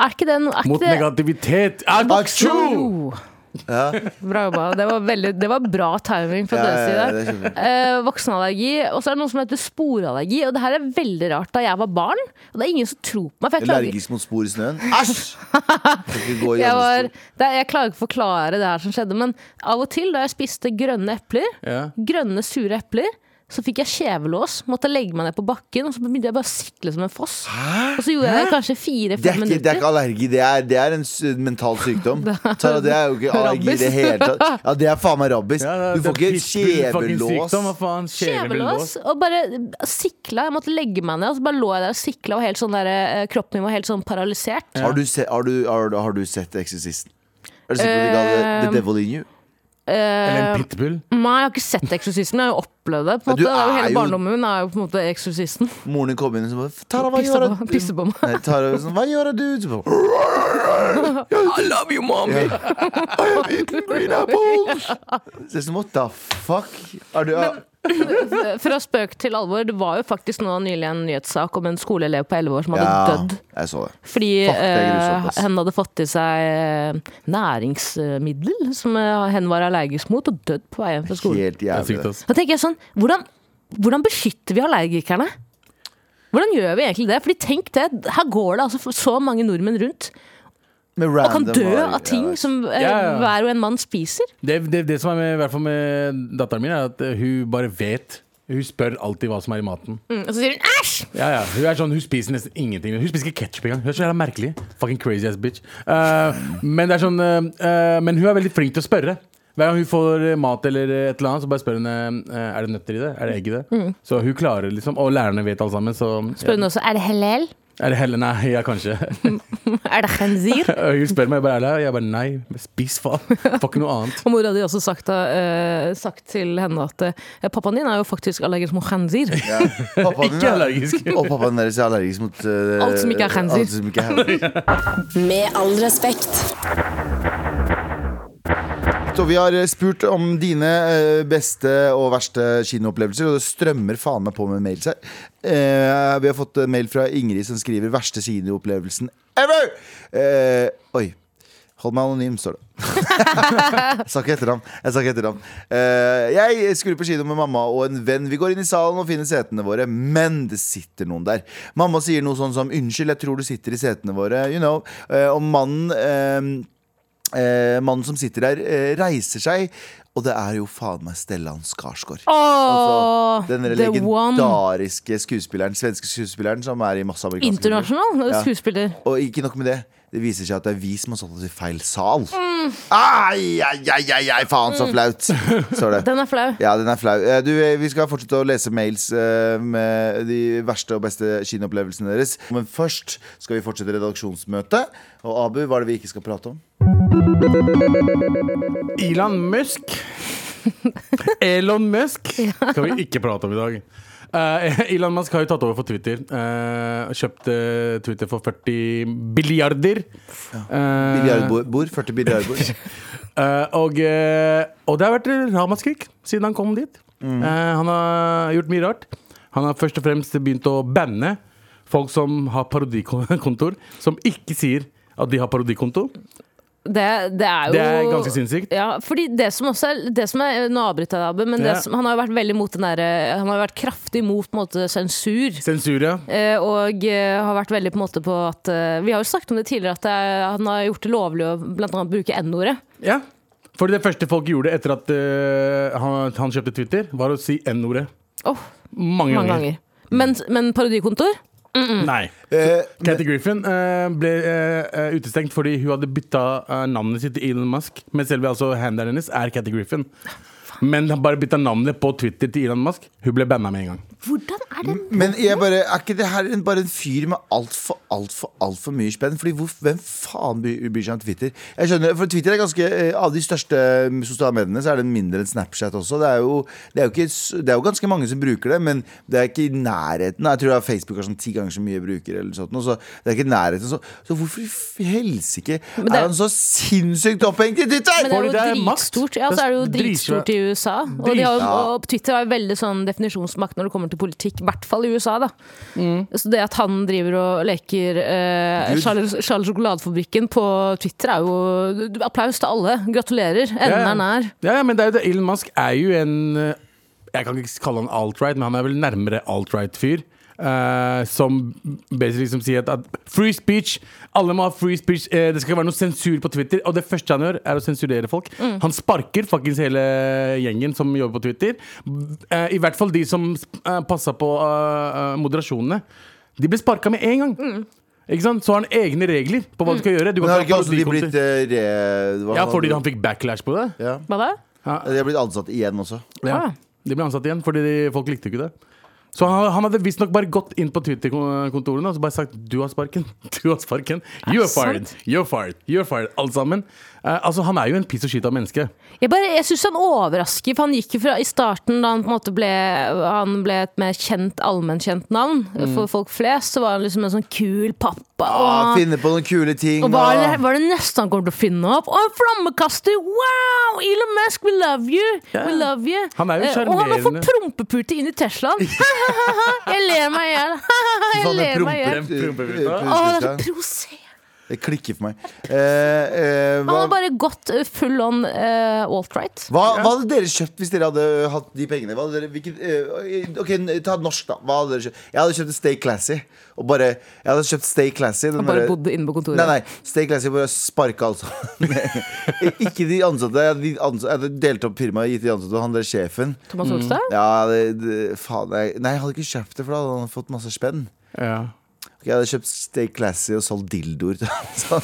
Speaker 4: Er ikke det noe er ikke
Speaker 2: Mot
Speaker 4: det-
Speaker 2: negativitet. Acho!
Speaker 4: Jo.
Speaker 3: Ja.
Speaker 4: Bra jobba. Det var, veldig, det var bra timing fra
Speaker 3: Ja,
Speaker 4: deres
Speaker 3: ja, ja,
Speaker 4: side.
Speaker 3: det er kjempebra.
Speaker 4: Eh, voksenallergi, og så er det noe som heter sporallergi. Og det her er veldig rart. Da jeg var barn, og det er ingen som tror på meg. For jeg klarer, ikke-
Speaker 3: Allergisk mot spor i snøen. Æsj! Kan ikke gå i
Speaker 4: jeg, var,
Speaker 3: gjemmestol.
Speaker 4: det, er- jeg klarer ikke å forklare det her som skjedde, men av og til da jeg spiste grønne epler,
Speaker 2: Ja.
Speaker 4: grønne sure epler, så fikk jeg kjevelås, måtte legge meg ned på bakken, og så begynte jeg bare å sikle som en foss. Og så gjorde jeg det kanskje
Speaker 3: Det er,
Speaker 4: fire-fem
Speaker 3: ikke, det er
Speaker 4: minutter.
Speaker 3: ikke allergi, det er, det er en s- mental sykdom. Tara, det er jo ikke allergi i det
Speaker 4: Rabies.
Speaker 3: hele tatt. Ja, Det er faen meg rabies.
Speaker 2: Ja, det-
Speaker 3: Du får
Speaker 2: det er
Speaker 3: ikke
Speaker 2: pitbull, fucking
Speaker 3: kjevelås.
Speaker 2: sykdom, hva faen?
Speaker 4: Kjevelås,
Speaker 2: Kjevelås.
Speaker 4: og bare sikla. Jeg måtte legge meg ned, og så bare lå jeg der og sikla, og helt sånn der, eh, kroppen min var helt sånn paralysert.
Speaker 3: Har du, se, har, du, har, du- har du sett Exorcisten? Er du sikker på at du ikke hadde
Speaker 4: Eh,
Speaker 3: The Devil in You?
Speaker 2: Eller en pitbull.
Speaker 4: Nei, jeg har ikke sett Eksorsisten. Jeg har jo opplevd det. på en
Speaker 3: Du
Speaker 4: måte. Det er jo
Speaker 3: er
Speaker 4: Hele
Speaker 3: jo-
Speaker 4: barndommen min er jo på en måte Eksorsisten.
Speaker 3: Moren din kom inn og så bare Tara, hva
Speaker 4: Pissa
Speaker 3: gjør
Speaker 4: på,
Speaker 3: du?
Speaker 4: pisse på meg.
Speaker 3: Nei, Tara var sånn, hva gjør du? Så bare,
Speaker 2: I love you, mommy!
Speaker 3: Green apples! Så jeg sånn, what the fuck? Er du,
Speaker 4: Fra spøk til alvor. Det var jo faktisk nå nylig en nyhetssak om en skoleelev på 11 år som hadde dødd
Speaker 3: jeg så det.
Speaker 4: fordi
Speaker 3: Fuck, det er grusomt,
Speaker 4: eh,
Speaker 3: ass.
Speaker 4: hen hadde fått i seg eh, næringsmiddel som eh, hen var allergisk mot, og dødd på vei hjem fra skolen.
Speaker 3: Helt
Speaker 2: Det er sykt,
Speaker 3: jævlig.
Speaker 2: ass.
Speaker 4: Da tenker jeg sånn, hvordan, hvordan beskytter vi allergikerne? Hvordan gjør vi egentlig det? Fordi tenk det, her går det altså så mange nordmenn rundt
Speaker 3: Med
Speaker 4: og kan
Speaker 3: random
Speaker 4: dø
Speaker 3: allergi-
Speaker 4: av ting
Speaker 3: Ja,
Speaker 4: som eh,
Speaker 2: Ja, ja.
Speaker 4: hver og en mann spiser.
Speaker 2: Det, det, det som er med, i hvert fall med datteren min, er at eh, hun bare vet. Hun spør alltid hva som er i maten.
Speaker 4: Mm, Og så sier hun æsj!
Speaker 2: Ja, ja. Hun er sånn, hun spiser nesten ingenting. Hun spiser ikke ketsjup engang. Hun er så jævla merkelig. Fucking crazy ass bitch. Eh, men, det er sånn, eh, eh, men hun er veldig flink til å spørre. Hver gang hun får eh, mat eller eh, et eller annet, så bare spør hun eh, Er det nøtter i det. Er det egg i det? Så hun klarer liksom Og lærerne vet alle sammen, så
Speaker 4: Mm. Spør hun også er det halal?
Speaker 2: Er det helle? Nei, ja, kanskje.
Speaker 4: Er det khanzir?
Speaker 2: hun spør meg, jeg bare er det? her?" Jeg bare nei. Spis faen. Får ikke noe annet.
Speaker 4: Og mora hadde også sagt, eh, sagt til henne at eh, pappaen din er jo faktisk allergisk mot khanzir.
Speaker 3: Ja. Pappaen din
Speaker 2: Ikke
Speaker 3: er-
Speaker 2: allergisk.
Speaker 3: Og pappaen deres er allergisk mot eh,
Speaker 4: Alt som ikke er khanzir.
Speaker 3: alt som ikke er khanzir.
Speaker 1: Med all respekt.
Speaker 3: Så vi har eh, spurt om dine eh, beste og verste kinoopplevelser, og det strømmer faen meg på med mails her. Eh, Vi har fått en mail fra Ingrid som skriver 'verste kinoopplevelsen ever'. Eh, Oi. Hold meg anonym, står det. Jeg sa ikke etternavn. Jeg sa ikke etternavn. Eh, jeg skulle på kino med mamma og en venn. Vi går inn i salen og finner setene våre, men det sitter noen der. Mamma sier noe sånn som 'Unnskyld, jeg tror du sitter i setene våre', you know. Eh, og mannen eh, eh, Mannen som sitter der, eh, reiser seg, og det er jo faen meg Stellan Skarsgård.
Speaker 4: Åh,
Speaker 3: Altså, den altså,
Speaker 4: the one!
Speaker 3: legendariske skuespilleren, svenske skuespilleren som er i masse amerikanske filmer.
Speaker 4: Internasjonal
Speaker 3: Ja.
Speaker 4: skuespiller.
Speaker 3: Og ikke nok med det. Det viser seg at det er vi som har satt oss i feil sal. Ai, ai, ai, ai, ai, faen så flaut, står det.
Speaker 4: Den er flau.
Speaker 3: Ja, den er flau. Eh, Du, eh, vi skal fortsette å lese mails eh, med de verste og beste kinoopplevelsene deres. Men først skal vi fortsette redaksjonsmøtet. Og Abu, hva er det vi ikke skal prate om?
Speaker 2: Elon Musk. Elon Musk skal vi ikke prate om i dag. Eh, Elon Musk har jo tatt over for Twitter. Uh, kjøpt eh, Twitter for 40 billiarder. Eh,
Speaker 3: Biljardbord? 40 biljardbord?
Speaker 2: Eh, og, eh, og det har vært ramaskrik siden han kom dit. Eh, han har gjort mye rart. Han har først og fremst begynt å banne folk som har parodikontor, som ikke sier at de har parodikonto.
Speaker 4: Det, det er jo
Speaker 2: Det er ganske sinnssykt.
Speaker 4: Ja, fordi det som også er, det som er Nå avbryter jeg deg, Abu, men det
Speaker 2: Ja.
Speaker 4: som, han har jo vært veldig mot den derre Han har jo vært kraftig mot på en måte, sensur.
Speaker 2: Sensur, ja.
Speaker 4: Eh, og eh, har vært veldig på en måte på at eh, Vi har jo snakket om det tidligere at det, er- han har gjort det lovlig å blant annet bruke N-ordet.
Speaker 2: Ja. For det første folk gjorde etter at eh, han, han kjøpte Twitter, var å si N-ordet.
Speaker 4: Åh,
Speaker 2: Mange,
Speaker 4: mange
Speaker 2: ganger. Mm.
Speaker 4: ganger. Men, men parodikontor?
Speaker 2: Nei.
Speaker 3: Eh,
Speaker 2: Kathy Griffin eh, ble eh, eh, utestengt fordi hun hadde bytta eh, navnet sitt til Elon Musk. Men selve altså handleren hennes er Kathy Griffin. Men han bare bytta navnet på Twitter til Elon Musk. Hun ble banna med en gang.
Speaker 4: Hvordan er det
Speaker 3: Men jeg bare, er ikke det her en, bare en fyr med altfor, altfor, altfor mye spenn? Fordi hvor, hvem faen bry- bryr seg om Twitter? Jeg skjønner, for Twitter er ganske eh, Av de største eh, sosiale mediene så er den mindre enn Snapchat også. Det er, jo, det, er jo ikke, s- det er jo ganske mange som bruker det, men det er ikke i nærheten. Jeg tror det er Facebook har sånn ti ganger så mye brukere, eller sånt, noe, så det er ikke i nærheten. Så, så hvorfor i f- helsike
Speaker 4: det-
Speaker 3: er han så sinnssykt opphengt i
Speaker 4: Men det
Speaker 3: Twitter?!
Speaker 4: er
Speaker 2: Fordi
Speaker 4: jo
Speaker 2: det er makt.
Speaker 4: dritstort. Ja, så er det jo
Speaker 2: Det er
Speaker 4: dritstort i USA. Og, de har, jo-
Speaker 3: Ja.
Speaker 4: og Twitter har jo veldig sånn definisjonsmakt når det kommer til politikk, hvert fall i USA, da. Så det at han driver og leker eh,
Speaker 3: Gud.
Speaker 4: Charles, Charles Sjokoladefabrikken på Twitter, er jo Applaus til alle. Gratulerer. Enden
Speaker 2: Ja, ja.
Speaker 4: er nær.
Speaker 2: Ja, ja, men det er jo det. Elon Musk er jo en eh, Jeg kan ikke kalle han alt-right, men han er vel nærmere alt-right-fyr. eh, som basically liksom sier at, at free speech Alle må ha free speech. eh, det skal ikke være noe sensur på Twitter. Og det første han gjør, er å sensurere folk. Han sparker fuckings hele gjengen som jobber på Twitter. Eh, I hvert fall de som uh, passa på eh, eh, moderasjonene. De ble sparka med en gang. Ikke sant? Så har han egne regler på hva du skal gjøre. Du
Speaker 3: Men
Speaker 2: kan
Speaker 3: har
Speaker 2: ikke
Speaker 3: ikke
Speaker 2: ha
Speaker 3: også de
Speaker 2: parodikonser-
Speaker 3: blitt eh, re... hva
Speaker 2: Ja,
Speaker 3: han-
Speaker 2: fordi han fikk backlash på det.
Speaker 3: ja.
Speaker 4: Hva da?
Speaker 3: De har blitt ansatt igjen også.
Speaker 2: Ja.
Speaker 4: Ah.
Speaker 2: De ble ansatt igjen fordi de, folk likte ikke det. Så han, han hadde visstnok bare gått inn på Twitter-kontorene og så bare sagt 'du har sparken', 'du har sparken', 'you are
Speaker 4: det
Speaker 2: fired', 'you are fired', you are fired, alle sammen. Eh, altså, han er jo en piece of shit av menneske.
Speaker 4: Jeg, bare- jeg syns han overrasker, for han gikk jo fra i starten, da han på en måte ble, han ble et mer kjent, allmennkjent navn for folk flest, så var han liksom en sånn kul pappa.
Speaker 3: Ah,
Speaker 4: og-
Speaker 3: finne på noen kule ting.
Speaker 4: og hva er, det,
Speaker 3: og-
Speaker 4: hva er det neste han kommer til å finne opp? Å, en flammekaster! Wow! Elon Musk, we love you! We love you.
Speaker 2: Han er jo
Speaker 4: Eh, Og han har
Speaker 2: sjarmerende.
Speaker 4: fått prompepute inn i Teslaen! jeg ler meg i hjel! jeg
Speaker 3: Faen, det
Speaker 4: ler meg i hjel.
Speaker 3: promper-
Speaker 2: Den promper vi
Speaker 3: eh,
Speaker 2: tar.
Speaker 4: Å, det er så
Speaker 3: promper-
Speaker 4: provoserende.
Speaker 3: Det klikker for meg. Eh, eh,
Speaker 4: Han
Speaker 3: hva,
Speaker 4: har bare gått eh, full on eh, alt-right.
Speaker 3: hva, hva hadde dere kjøpt hvis dere hadde hatt de pengene? Hva hadde dere, hvilket, eh, ok, n- Ta norsk, da. Hva hadde dere kjøpt? Jeg hadde kjøpt Stay Classy. Og bare, jeg hadde kjøpt Stay Classy den
Speaker 4: Han bare
Speaker 3: derre-
Speaker 4: bodde inne på kontoret.
Speaker 3: Nei, nei, Stay Classy bare sparka altså Ikke de ansatte Jeg hadde, de ansatte, jeg hadde delt opp firmaet Gitt de ansatte, han der sjefen
Speaker 4: Thomas Olstad?
Speaker 3: ja, det, det, faen, jeg, Nei, jeg hadde ikke kjøpt det For da hadde han fått masse spenn
Speaker 2: Ja.
Speaker 3: Ok, Jeg hadde kjøpt Stay Classy og solgt dildoer til han, så-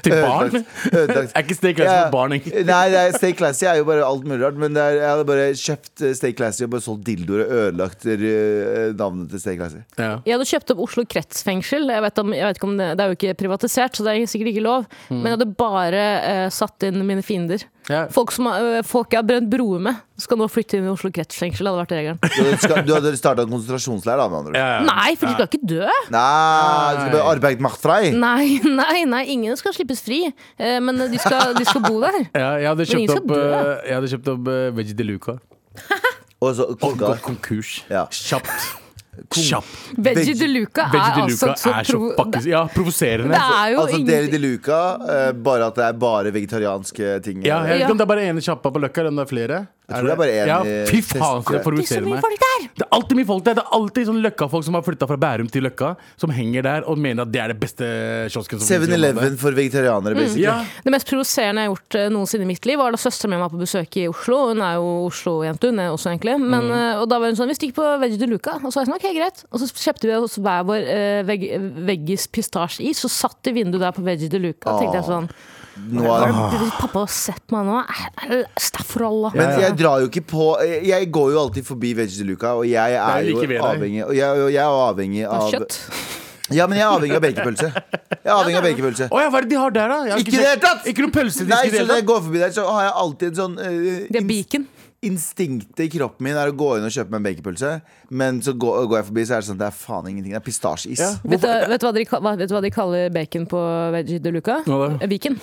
Speaker 2: Til barn?
Speaker 3: Ødelagt- ødelagt.
Speaker 2: Er ikke Stay Classy
Speaker 3: Ja. Eh,
Speaker 2: for barn, egentlig?
Speaker 3: Nei, det er, Stay Classy er jo bare alt mulig rart Men det er, jeg hadde bare kjøpt eh, Stay Classy Og bare solgt dildoer og ødelagt eh, navnet til Stay Classy
Speaker 2: Ja.
Speaker 4: Jeg hadde kjøpt opp Oslo kretsfengsel. Jeg vet om, jeg vet ikke om det, det er jo ikke privatisert, så det er sikkert ikke lov. Men jeg hadde bare eh, satt inn mine fiender.
Speaker 2: Ja.
Speaker 4: Folk, som, har- eh, folk jeg har brent broer med, skal nå flytte inn i Oslo kretsfengsel. hadde vært regelen.
Speaker 3: Du hadde, ska- du hadde startet en konsentrasjonsleir da, med andre ord.
Speaker 2: Ja.
Speaker 4: Nei, for de skal ikke dø!
Speaker 3: Nei, du skal bare arbeide macht frei
Speaker 4: Nei, nei, nei, ingen skal slippes fri. Eh, men de skal, de skal bo der.
Speaker 2: Ja, jeg hadde
Speaker 4: ingen
Speaker 2: kjøpt
Speaker 4: skal
Speaker 2: opp,
Speaker 4: dø.
Speaker 2: eh, jeg hadde kjøpt opp eh, Veggie de Luca.
Speaker 3: Og så
Speaker 2: Og
Speaker 3: koka
Speaker 2: gått konkurs.
Speaker 3: Ja.
Speaker 2: Kjapt. Kjapt.
Speaker 4: Veggie de Luca
Speaker 2: Veggie
Speaker 4: er
Speaker 2: de
Speaker 4: altså
Speaker 2: Luca
Speaker 4: så
Speaker 2: er så
Speaker 4: provo-
Speaker 2: fuckings Ja, provoserende.
Speaker 4: Det er jo
Speaker 3: Altså Deli
Speaker 4: ingen
Speaker 3: de Luca, eh, bare at det er bare vegetarianske ting. Eh,
Speaker 2: Ja, jeg vet ikke
Speaker 4: Ja.
Speaker 2: om det er bare ene kjappa på Løkka, eller om det er flere. Jeg
Speaker 3: tror det er bare en,
Speaker 2: ja,
Speaker 3: eh,
Speaker 2: Fy faen, for det
Speaker 3: test-
Speaker 4: Det er så
Speaker 2: provoserer
Speaker 4: mye
Speaker 2: meg.
Speaker 4: folk der!
Speaker 2: Det er alltid mye folk der. Det er alltid sånn Løkka-folk som har flytta fra Bærum til Løkka, som henger der og mener at det er det beste kiosken som finnes i området.
Speaker 3: 7-Eleven for vegetarianere,
Speaker 4: Mm.
Speaker 3: basically.
Speaker 2: Ja.
Speaker 4: Det mest provoserende jeg har gjort eh, noensinne i mitt liv, var da søsteren min var på besøk i Oslo. Hun er jo Oslo-jente, hun er også, egentlig. Men, eh, Og da var hun sånn Vi stikker på Veggie de Luca. Og så var jeg sånn, ok, greit. Og så kjøpte vi oss hver vår eh, veg veggis pistasjeis, og satt i vinduet der på Veggie de Luca. Og tenkte jeg sånn
Speaker 3: Nå er det
Speaker 4: Hvis pappa har sett meg nå Staffralla.
Speaker 3: Men jeg drar jo ikke på Jeg jeg går jo alltid forbi Veggie de Luca, og jeg er
Speaker 2: jo
Speaker 3: jo
Speaker 2: like ved deg.
Speaker 3: avhengig Og jeg, og jeg er jo avhengig av
Speaker 4: Kjøtt.
Speaker 3: Ja, men jeg er avhengig av bakepølse. Jeg er avhengig av bakepølse.
Speaker 2: Å ja, hva er det de har der, da? Jeg har
Speaker 3: Ikke i det hele
Speaker 2: sett-
Speaker 3: tatt!
Speaker 2: Ikke noen pølsedisk
Speaker 3: Nei,
Speaker 2: i det
Speaker 3: så når
Speaker 2: hele
Speaker 3: jeg
Speaker 2: tatt?
Speaker 3: går forbi der, så har jeg alltid en sånn eh,
Speaker 4: Det er
Speaker 3: inst-
Speaker 4: biken.
Speaker 3: Instinktet i kroppen min er å gå inn og kjøpe meg en bakerpølse, men så går, går jeg forbi, så er det sånn Det er faen ingenting. Det er pistasjeis.
Speaker 2: Ja.
Speaker 4: Vet du, vet, du hva de, ka- hva- vet du hva de kaller bacon på Veggie de Luca?
Speaker 2: Hva da?
Speaker 4: Eh, Viken.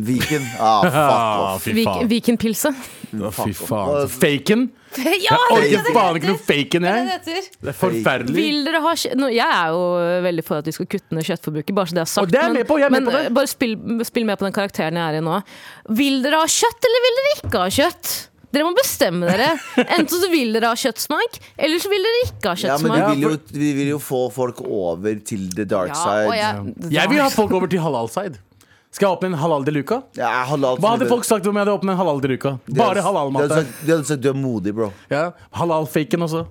Speaker 3: Viken. Ah, fuck
Speaker 2: Ah,
Speaker 3: off.
Speaker 2: fy
Speaker 4: Vik,
Speaker 2: faen.
Speaker 4: Vikenpilse.
Speaker 2: Å, fy faen. Faken?
Speaker 4: ja,
Speaker 2: Jeg
Speaker 4: det er
Speaker 2: orker
Speaker 4: det
Speaker 2: faen ikke
Speaker 4: det
Speaker 2: noe faken, jeg.
Speaker 4: heter!
Speaker 2: Det er forferdelig.
Speaker 4: Vil dere ha kjø- Nå, Jeg er jo veldig for at vi skal kutte ned kjøttforbruket, bare så det er sagt.
Speaker 2: Og det er jeg med på, jeg er med
Speaker 4: men
Speaker 2: på det.
Speaker 4: eh, bare spill, spill med på den karakteren jeg er i nå. Vil dere ha kjøtt, eller vil dere ikke ha kjøtt? Dere må bestemme dere. Enten så vil dere ha kjøttsmak, eller så vil dere ikke ha
Speaker 3: Ja, men
Speaker 4: kjøttsmak.
Speaker 3: vi
Speaker 2: Ja,
Speaker 3: vil, jo, vi vil jo få folk over til the dark
Speaker 4: Ja, og
Speaker 3: side. Ja,
Speaker 4: jeg,
Speaker 2: Jeg vil ha folk over til halal-side. Skal jeg åpne en halal de Luca?
Speaker 3: halal
Speaker 2: Hva hadde folk sagt om jeg hadde åpnet en halal de Luca? Bare
Speaker 3: De
Speaker 2: halal-mat.
Speaker 3: hadde
Speaker 2: der.
Speaker 3: sagt- de hadde sagt du er modig, bro.
Speaker 2: Ja, Halal-faken også.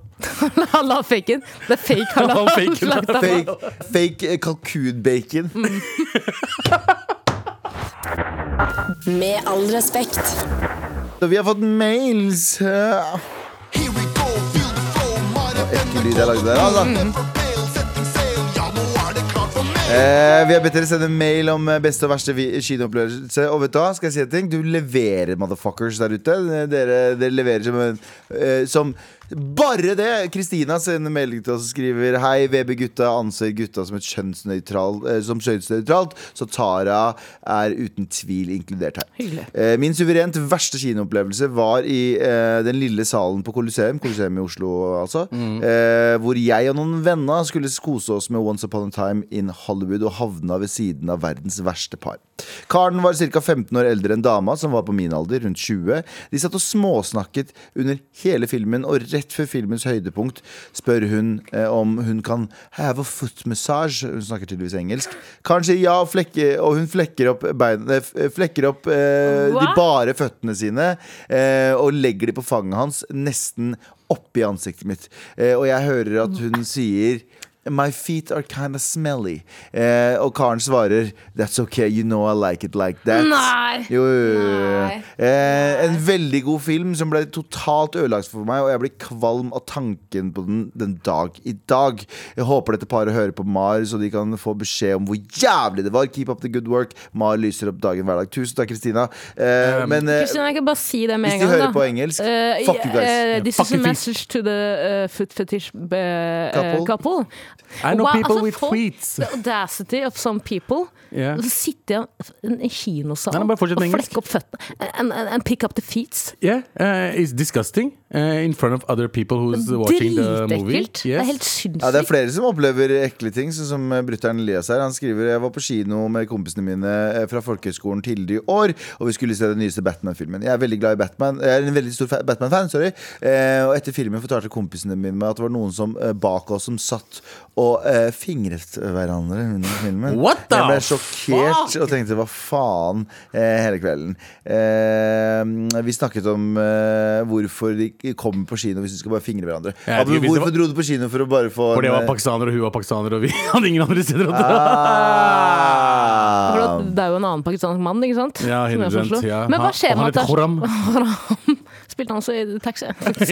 Speaker 4: Halal faken. Det er fake halal.
Speaker 2: Halal faken.
Speaker 4: Lagt av.
Speaker 3: Fake, fake eh, kalkunbacon.
Speaker 5: Med all respekt.
Speaker 3: Så Vi har fått mails. eh, Ekkel lyd jeg lagde der, altså. Eh, vi har bedt dere sende mail om eh, beste og verste vi- kinoopplevelse. Og vet du hva, skal jeg si en ting? Du leverer motherfuckers der ute. Dere, dere leverer som, en- eh, som Bare det! Kristina sender melding til oss og skriver Hei, VB-gutta anser gutta som, et kjønnsnøytral- eh, som kjønnsnøytralt, så Tara er uten tvil inkludert her.
Speaker 4: Hyggelig.
Speaker 3: Eh, Min suverent verste kinoopplevelse var i eh, den lille salen på Colosseum, Colosseum i Oslo altså, eh, hvor jeg og noen venner skulle kose oss med Once Upon a Time in Hollywood og havna ved siden av verdens verste par. Karen var ca. 15 år eldre enn dama, som var på min alder, rundt 20. De satt og småsnakket under hele filmen, og rett før filmens høydepunkt spør hun eh, om hun kan have a foot massage. Hun snakker tydeligvis engelsk. Karen sier ja, og, flekke, og hun flekker opp, bein, eh, f- flekker opp eh, de
Speaker 4: Hva?
Speaker 3: bare føttene sine eh, og legger de på fanget hans, nesten oppi ansiktet mitt. Eh, og jeg hører at hun sier My feet are kinda smelly. Eh, og Karen svarer That's okay, you know I like it like that.
Speaker 4: Nei.
Speaker 3: Jo, jo, jo, jo.
Speaker 4: Nei.
Speaker 3: Eh, en veldig god film som ble totalt ødelagt for meg, og jeg blir kvalm av tanken på den den dag i dag. Jeg håper dette paret hører på Mar, så de kan få beskjed om hvor jævlig det var. Keep up the good work. Mar lyser opp dagen hver dag. Tusen takk, Kristina. Eh, men eh,
Speaker 4: Kristina, jeg kan bare si det med
Speaker 3: hvis
Speaker 4: en
Speaker 3: de
Speaker 4: gang.
Speaker 3: hører
Speaker 4: da.
Speaker 3: på engelsk,
Speaker 4: Eh,
Speaker 3: fuck you guys.
Speaker 4: eh, this is a
Speaker 2: Fuck you,
Speaker 4: message to the eh, foot fetish eh,
Speaker 3: Couple.
Speaker 4: couple.
Speaker 2: I know
Speaker 4: Wow,
Speaker 2: people
Speaker 4: altså,
Speaker 2: with
Speaker 4: folk-
Speaker 2: tweets.
Speaker 4: The audacity of some people.
Speaker 2: Yeah.
Speaker 4: Og så sitter jeg i en- en kinosal
Speaker 2: Nei, nei, bare fortsett
Speaker 4: og
Speaker 2: med engelsk.
Speaker 4: flekker opp føttene. And, and, and pick up the feet.
Speaker 2: Yeah, uh, it's disgusting uh, in front of other people who's watching the movie.
Speaker 4: Dritekkelt. Det er helt sinnssykt.
Speaker 3: Ja, det er flere som opplever ekle ting, sånn som eh, brutter'n Elias her. Han skriver jeg var på kino med kompisene mine eh, fra folkehøgskolen tidligere i år, og vi skulle se den nyeste Batman-filmen. Jeg er veldig glad i Batman. Jeg er en veldig stor fa- Batman-fan, sorry. Eh, og etter filmen fortalte kompisene mine meg at det var noen som eh, bak oss som satt og eh, fingret hverandre under filmen.
Speaker 2: What the
Speaker 3: jeg ble sjokkert og tenkte hva faen eh, hele kvelden. Eh, vi snakket om eh, hvorfor de kommer på kino hvis de skal bare fingre hverandre.
Speaker 2: Ja, jeg tror
Speaker 3: Abu,
Speaker 2: hvis det var-
Speaker 3: hvorfor dro du på kino for å bare få
Speaker 2: For det var
Speaker 3: en, eh,
Speaker 2: pakistaner, og hun var pakistaner, og vi hadde ingen andre steder å dra.
Speaker 4: For
Speaker 3: Ah.
Speaker 4: at det er jo en annen pakistansk mann, ikke sant?
Speaker 2: Ja,
Speaker 4: Som er fra
Speaker 2: 100%,
Speaker 4: Oslo.
Speaker 2: ja.
Speaker 4: Men hva
Speaker 2: Han-
Speaker 4: skjer
Speaker 2: og han
Speaker 4: med at det
Speaker 2: heter
Speaker 4: er
Speaker 2: Khorram.
Speaker 4: Khorram. Spilte han også i taxi?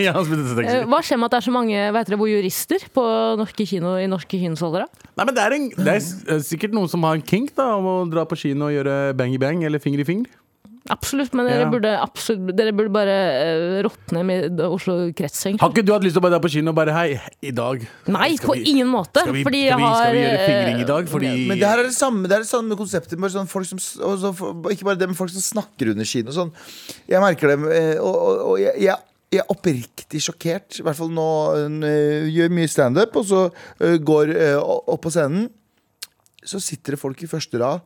Speaker 2: ja, han spilte sexy.
Speaker 4: Eh, Hva skjer med at det er så mange hva heter det, vojurister på norske kino i norske kinosaler? da?
Speaker 2: Nei, men det er, en, det er s- eh, sikkert noen som har en kink da, om å dra på kino og gjøre bang i bang eller finger i finger.
Speaker 4: Absolutt, men dere,
Speaker 2: Ja.
Speaker 4: burde, absolutt, dere burde bare eh, råtne med Oslo kretsfengsel.
Speaker 2: Har ikke du hatt lyst til å bare dra på kino og bare hei, i dag
Speaker 4: Nei,
Speaker 2: skal
Speaker 4: på
Speaker 2: vi-
Speaker 4: ingen måte!
Speaker 2: skal vi,
Speaker 4: fordi
Speaker 2: skal
Speaker 4: jeg
Speaker 2: vi,
Speaker 4: har
Speaker 2: skal vi gjøre
Speaker 4: eh,
Speaker 2: fingring i dag? Fordi
Speaker 3: Men det her er det samme, det er det samme konseptet. Bare sånn folk som, s- og så, for- ikke bare det, men folk som snakker under kino. og Sånn. Jeg merker det, eh, og, og, og jeg, jeg, jeg er oppriktig sjokkert. I hvert fall nå eh, gjør mye standup, og så eh, går eh, opp på scenen. Så sitter det folk i første rad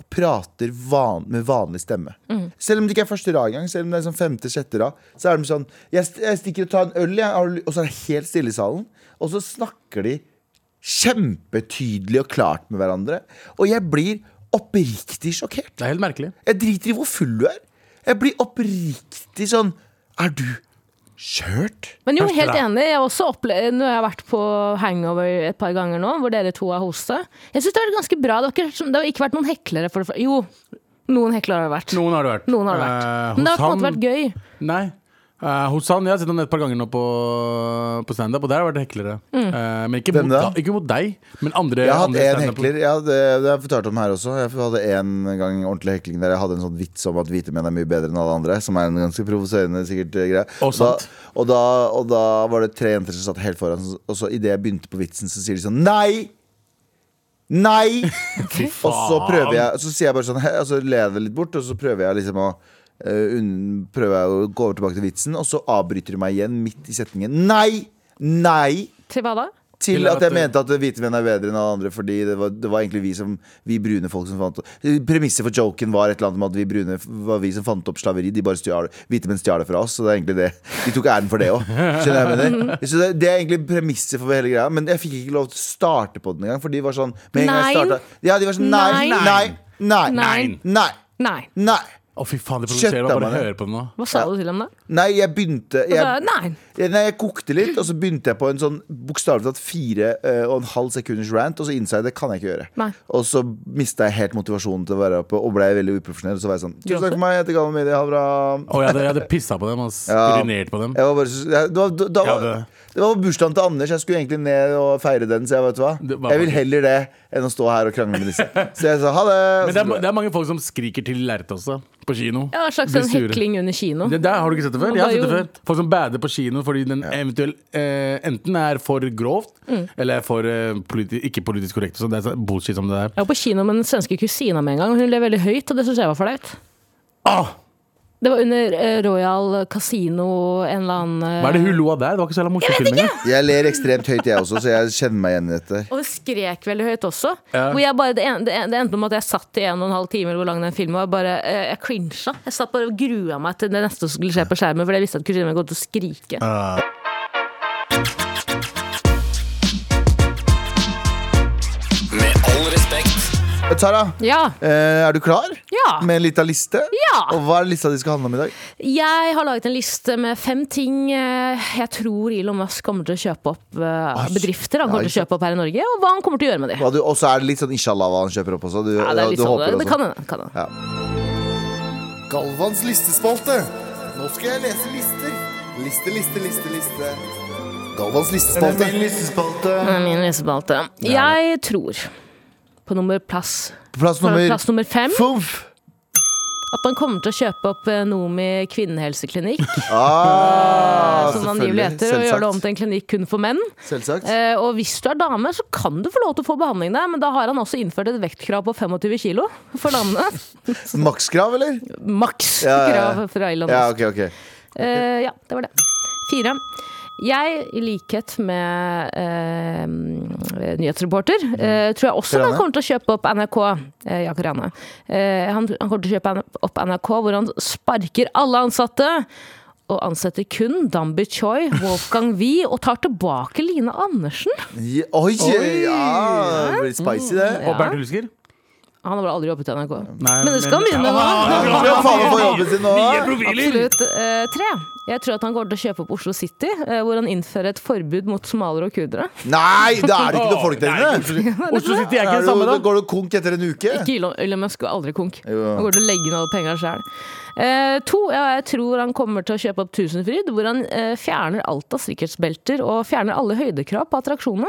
Speaker 3: og prater van, med vanlig stemme. Selv om det ikke er første rad engang, selv om det er sånn femte-sjette rad, så er de sånn jeg, st- jeg stikker og tar en øl, jeg, har du ly-?» og så er det helt stille i salen. Og så snakker de kjempetydelig og klart med hverandre. Og jeg blir oppriktig sjokkert.
Speaker 2: Det er helt merkelig.
Speaker 3: Jeg driter i hvor full du er. Jeg blir oppriktig sånn Er du skjørt?
Speaker 4: Men jo,
Speaker 2: Første
Speaker 4: helt
Speaker 2: da.
Speaker 4: enig. Jeg har også opplevd, når jeg har vært på hangover et par ganger nå, hvor dere to har hoste. Jeg syns det har vært ganske bra. Det har ikke, det har ikke vært noen heklere. For det, jo, noen heklere har det vært.
Speaker 2: Noen har det vært.
Speaker 4: Noen har det
Speaker 2: Eh,
Speaker 4: vært. Men det har på en måte
Speaker 2: hos
Speaker 4: vært gøy.
Speaker 2: han- Nei. Eh, hos han, Jeg har sett han et par ganger nå på, på standup, og der har det vært heklere.
Speaker 4: Mm.
Speaker 2: Eh, men ikke
Speaker 3: Hvem
Speaker 2: mot,
Speaker 3: da?
Speaker 2: da- ikke mot deg, men andre.
Speaker 3: Jeg har hatt
Speaker 2: andre
Speaker 3: én
Speaker 2: standup-
Speaker 3: hekler. Jeg hadde, det har jeg fortalt om her også. Jeg hadde en gang ordentlig hekling der jeg hadde en sånn vits om at hvite menn er mye bedre enn alle andre. Som er en ganske provoserende sikkert eh, greie.
Speaker 2: Og
Speaker 3: da,
Speaker 2: sant.
Speaker 3: og, da, og da var det tre jenter som satt helt foran, og så idet jeg begynte på vitsen, så sier de sånn Nei! Nei!
Speaker 2: Fy
Speaker 3: Og så prøver
Speaker 2: faen.
Speaker 3: jeg Så sier jeg bare sånn «Hæ?» Og så ler jeg det litt bort Og så prøver jeg liksom å eh, unn- Prøver jeg å gå over tilbake til vitsen Og så avbryter du meg igjen midt i setningen Nei! Nei!
Speaker 4: Til hva da?
Speaker 3: Til
Speaker 2: Til
Speaker 3: at
Speaker 2: at
Speaker 3: jeg
Speaker 2: du-
Speaker 3: mente at hvite menn er bedre enn alle andre Fordi det var, det var egentlig vi som Vi brune folk som fant Premisset for joken var et eller annet med At vi brune var vi som fant opp slaveri De bare stjal Hvite menn stjal det fra oss Så det er egentlig det De tok æren for det også Skjønner jeg hva jeg mener Så det, det er egentlig premisset for hele greia Men jeg fikk ikke lov til å starte på den engang For de var sånn Med en gang jeg
Speaker 4: Nei.
Speaker 3: startet Ja, de var sånn Nei,
Speaker 4: Nei.
Speaker 3: nei, nei, nei,
Speaker 4: Nei.
Speaker 3: nei,
Speaker 4: Nei.
Speaker 3: nei.
Speaker 2: Å, fy faen, det
Speaker 3: Shit,
Speaker 2: provoserer
Speaker 3: da,
Speaker 2: meg bare å
Speaker 3: mann.
Speaker 2: høre på det nå.
Speaker 4: Hva sa du til dem da?
Speaker 3: Nei, jeg begynte jeg,
Speaker 4: da- nei.
Speaker 3: Ja, Eh, nei, jeg kokte litt, og så begynte jeg på en sånn bokstavelig talt fire eh, og en halv sekunders rant, og så innså jeg det kan jeg ikke gjøre.
Speaker 4: Nei.
Speaker 3: Og så mista jeg helt motivasjonen til å være oppe, og ble veldig uprofesjonell. Og så var jeg sånn Tusen takk for meg, jeg heter Galvan Midi, ha det bra.
Speaker 2: Å, jeg hadde, jeg hadde pissa på dem. ass. Urinert på dem.
Speaker 3: Jeg var bare så, jeg, da, da, da,
Speaker 2: Ja, det-
Speaker 3: Det var bursdagen til Anders. Jeg skulle egentlig ned og feire den, så jeg vet du hva.
Speaker 2: Det var
Speaker 3: Jeg vil heller det enn å stå her og krangle med disse. Så jeg sa ha det. og
Speaker 2: Men
Speaker 3: så
Speaker 2: det er,
Speaker 3: dro jeg.
Speaker 2: det er mange folk som skriker til lerretet også, på kino.
Speaker 4: Ja, en slags
Speaker 2: Blir
Speaker 4: sånn
Speaker 2: sure.
Speaker 4: hekling under kino.
Speaker 2: Det der har du ikke sett det før? Jeg har
Speaker 4: Ja,
Speaker 2: sett det
Speaker 4: jo.
Speaker 2: før. Folk som bader på kino fordi den eventuelt eh, enten er for grovt,
Speaker 4: Mm.
Speaker 2: eller er for eh, politi ikke politisk korrekt. og sånn. det er sånn bullshit som det der.
Speaker 4: Jeg var på kino med den svenske kusina med en gang, og hun ble veldig høyt, og det syns jeg var flaut.
Speaker 2: Ah!
Speaker 4: Det var under eh, Royal Casino, en eller annen eh,
Speaker 2: Hva er det hun lo av der? Det var ikke så jævla morsomt. Jeg
Speaker 3: Jeg ler ekstremt høyt, jeg også, så jeg kjenner meg igjen i dette.
Speaker 4: Og hun skrek veldig høyt også.
Speaker 2: Ja.
Speaker 4: Hvor jeg bare, det, en, det, en- det endte med at jeg satt i en og en halv time eller hvor lang den filmen var. Bare, eh, jeg crincha. Jeg satt bare og grua meg til det neste som skulle skje på skjermen, fordi jeg visste at kusina mi kom til å skrike.
Speaker 6: Med all respekt.
Speaker 3: Tara,
Speaker 4: Ja.
Speaker 3: eh, er du klar?
Speaker 4: Ja.
Speaker 3: Med en lita liste?
Speaker 4: Ja.
Speaker 3: Og hva er lista de skal handle om i dag?
Speaker 4: Jeg har laget en liste med fem ting eh, jeg tror Elon Musk kommer til å kjøpe opp eh, bedrifter. Han kommer til å kjøpe opp her i Norge, og hva han kommer til å gjøre med dem.
Speaker 3: Og du- Og så er det litt sånn inshallah hva han kjøper opp også. Du,
Speaker 4: Ja, det er litt
Speaker 3: du
Speaker 4: sånn,
Speaker 3: håper
Speaker 4: det,
Speaker 3: også.
Speaker 4: det kan hende. kan hende.
Speaker 3: Galvans listespalte. Nå skal jeg lese lister. Liste, liste, liste, liste. Galvans listespalte.
Speaker 4: Det er Min lesespalte. Mm. Jeg tror på nummer plass,
Speaker 3: Plass nummer,
Speaker 4: plass nummer fem
Speaker 3: Fumf.
Speaker 4: at man kommer til å kjøpe opp eh, Nomi kvinnehelseklinikk.
Speaker 3: Ah,
Speaker 4: Eh, som angivelig
Speaker 3: selvfølgelig.
Speaker 4: heter, og gjør det om
Speaker 3: Selvsagt.
Speaker 4: til en klinikk kun for menn.
Speaker 3: Selvsagt.
Speaker 4: Eh, og hvis du er dame, så kan du få lov til å få behandling der, men da har han også innført et vektkrav på 25 kilo for damene.
Speaker 3: Makskrav, eller?
Speaker 4: Maks
Speaker 3: Ja, ja, ja.
Speaker 4: krav fra Elon
Speaker 3: Ja,
Speaker 4: Musk.
Speaker 3: ok, ok.
Speaker 4: Eh, ja, det var det. Fire. Jeg, i likhet med eh, nyhetsreporter, eh, tror jeg også
Speaker 3: Rane?
Speaker 4: han kommer til å kjøpe opp NRK. Eh, ja, Rane. Eh, han, han kommer til å kjøpe N- opp NRK, hvor han sparker alle ansatte. Og ansetter kun Dambi Choi, Wolfgang Wie og tar tilbake Line Andersen.
Speaker 3: Ja, oi,
Speaker 2: Oi.
Speaker 3: ja! Det blir spicy,
Speaker 4: Mm,
Speaker 3: det.
Speaker 2: Og Bernt Hulsker?
Speaker 4: Han har vel aldri jobbet i NRK.
Speaker 2: Nei,
Speaker 4: Men det skal han
Speaker 2: men-
Speaker 4: begynne nå!
Speaker 3: Han skal faen meg få jobben sin nå.
Speaker 4: Absolutt. Eh, tre. Jeg tror at han kommer til å kjøpe opp Oslo City, eh, hvor han innfører et forbud mot somalere og kurdere.
Speaker 3: Nei, da er det ikke noe folk der inne!
Speaker 2: Oslo City er
Speaker 3: Er
Speaker 2: ikke det
Speaker 3: du-
Speaker 2: samme,
Speaker 3: Da
Speaker 2: da.
Speaker 3: går du konk etter en uke.
Speaker 4: Ikke Elon, Elon Musk og aldri konk.
Speaker 3: Jo.
Speaker 4: Han går til å legge inn alle penga sjøl. Eh, to, ja, jeg tror han kommer til å kjøpe opp Tusenfryd, hvor han eh, fjerner alt av sikkerhetsbelter og fjerner alle høydekrav på attraksjonene.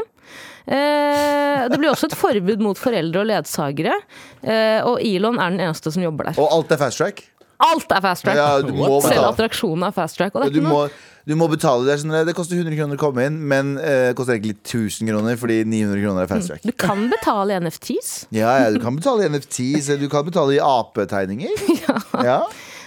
Speaker 4: Eh, det blir også et forbud mot foreldre og ledsagere, eh, og Elon er den eneste som jobber der.
Speaker 3: Og alt er fast track.
Speaker 4: Alt er fast track!
Speaker 3: Ja, du må
Speaker 4: Selv
Speaker 3: betale.
Speaker 4: attraksjonen er fast track. Og det er
Speaker 3: Du
Speaker 4: ikke noe
Speaker 3: må, du må betale. Det, er sånn, det koster 100 kroner å komme inn, men eh, det koster egentlig 1000 kroner fordi 900 kroner er fast track.
Speaker 4: du kan betale i NFTs.
Speaker 3: Ja, ja, du kan betale i NFTs, eller du kan betale i apetegninger. Ja.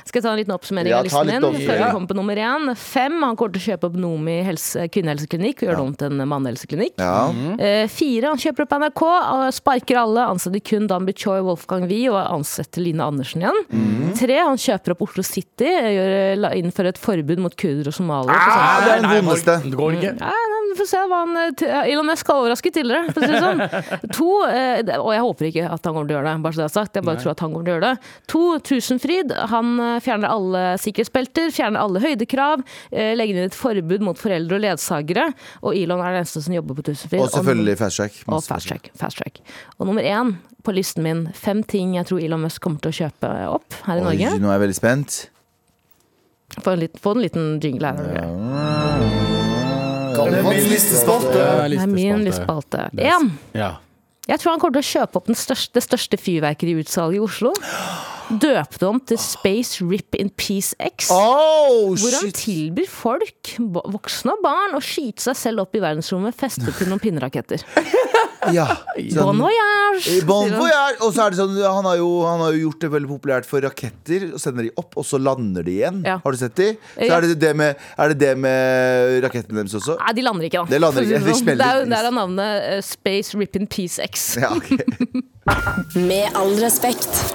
Speaker 4: Skal jeg ta en liten oppsummering
Speaker 3: Ja,
Speaker 4: av
Speaker 3: ta
Speaker 4: listen
Speaker 3: litt
Speaker 4: din? Før
Speaker 3: oppsummering.
Speaker 4: vi kommer på nummer én. Fem, han kommer til å kjøpe opp Nomi helse, kvinnehelseklinikk og gjøre det om til en mannehelseklinikk.
Speaker 3: Ja.
Speaker 4: Eh, fire, han kjøper opp NRK, eh, sparker alle, ansetter kun Danby Choi, Wolfgang Wie og ansetter Line Andersen igjen.
Speaker 3: Mhm.
Speaker 4: Tre, han kjøper opp Oslo City, eh, gjør, la- innfører et forbud mot kurdere og somaliere. på
Speaker 3: Ah,
Speaker 4: sånn-
Speaker 3: det er den vondeste.
Speaker 2: Det går ikke.
Speaker 4: Nei, nei, Vi får se hva han eh, t- Elon Musk har overrasket tidligere, for å si det sånn. To, eh, det- og jeg håper ikke at han kommer til å gjøre det, bare så det er sagt. Jeg bare tror at han kommer til å gjøre det. To, Tusenfryd. Han eh, fjerner alle sikkerhetsbelter, fjerner alle høydekrav, eh, legger inn et forbud mot foreldre og ledsagere, og Elon er den eneste som jobber på Tusenfryd.
Speaker 3: Og selvfølgelig fast track.
Speaker 4: Og fast track, fast track. Og nummer én på listen min, fem ting jeg tror Elon Musk kommer til å kjøpe opp her i
Speaker 3: Oi,
Speaker 4: Norge.
Speaker 3: nå er jeg veldig spent.
Speaker 4: Få en liten, få en liten jingle her.
Speaker 3: Galvans listespalte.
Speaker 4: Det er min lystspalte. Én.
Speaker 2: Ja.
Speaker 4: Jeg tror han kommer til å kjøpe opp den største, det største fyrverkeriutsalget i Oslo. Døpe det om til Space Rip in Peace X.
Speaker 3: Oh,
Speaker 4: Hvor han
Speaker 3: shit.
Speaker 4: tilbyr folk, bo- voksne og barn, å skyte seg selv opp i verdensrommet festet til noen pinneraketter.
Speaker 3: Ja.
Speaker 4: Bon
Speaker 3: Sånn-
Speaker 4: voyage!
Speaker 3: Bon
Speaker 4: sier han.
Speaker 3: voyage! Og så er det sånn, han har, jo, han har jo gjort det veldig populært for raketter. Og sender de opp, og så lander de igjen.
Speaker 4: Ja.
Speaker 3: Har du sett de? Så
Speaker 4: Ja.
Speaker 3: er det det med, er det, det med rakettene deres også?
Speaker 4: Nei, de lander ikke, da.
Speaker 3: De lander ikke, de smeller.
Speaker 4: det er jo der er navnet eh, Space Rip in Peace X.
Speaker 3: Ja, ok.
Speaker 5: Med all respekt.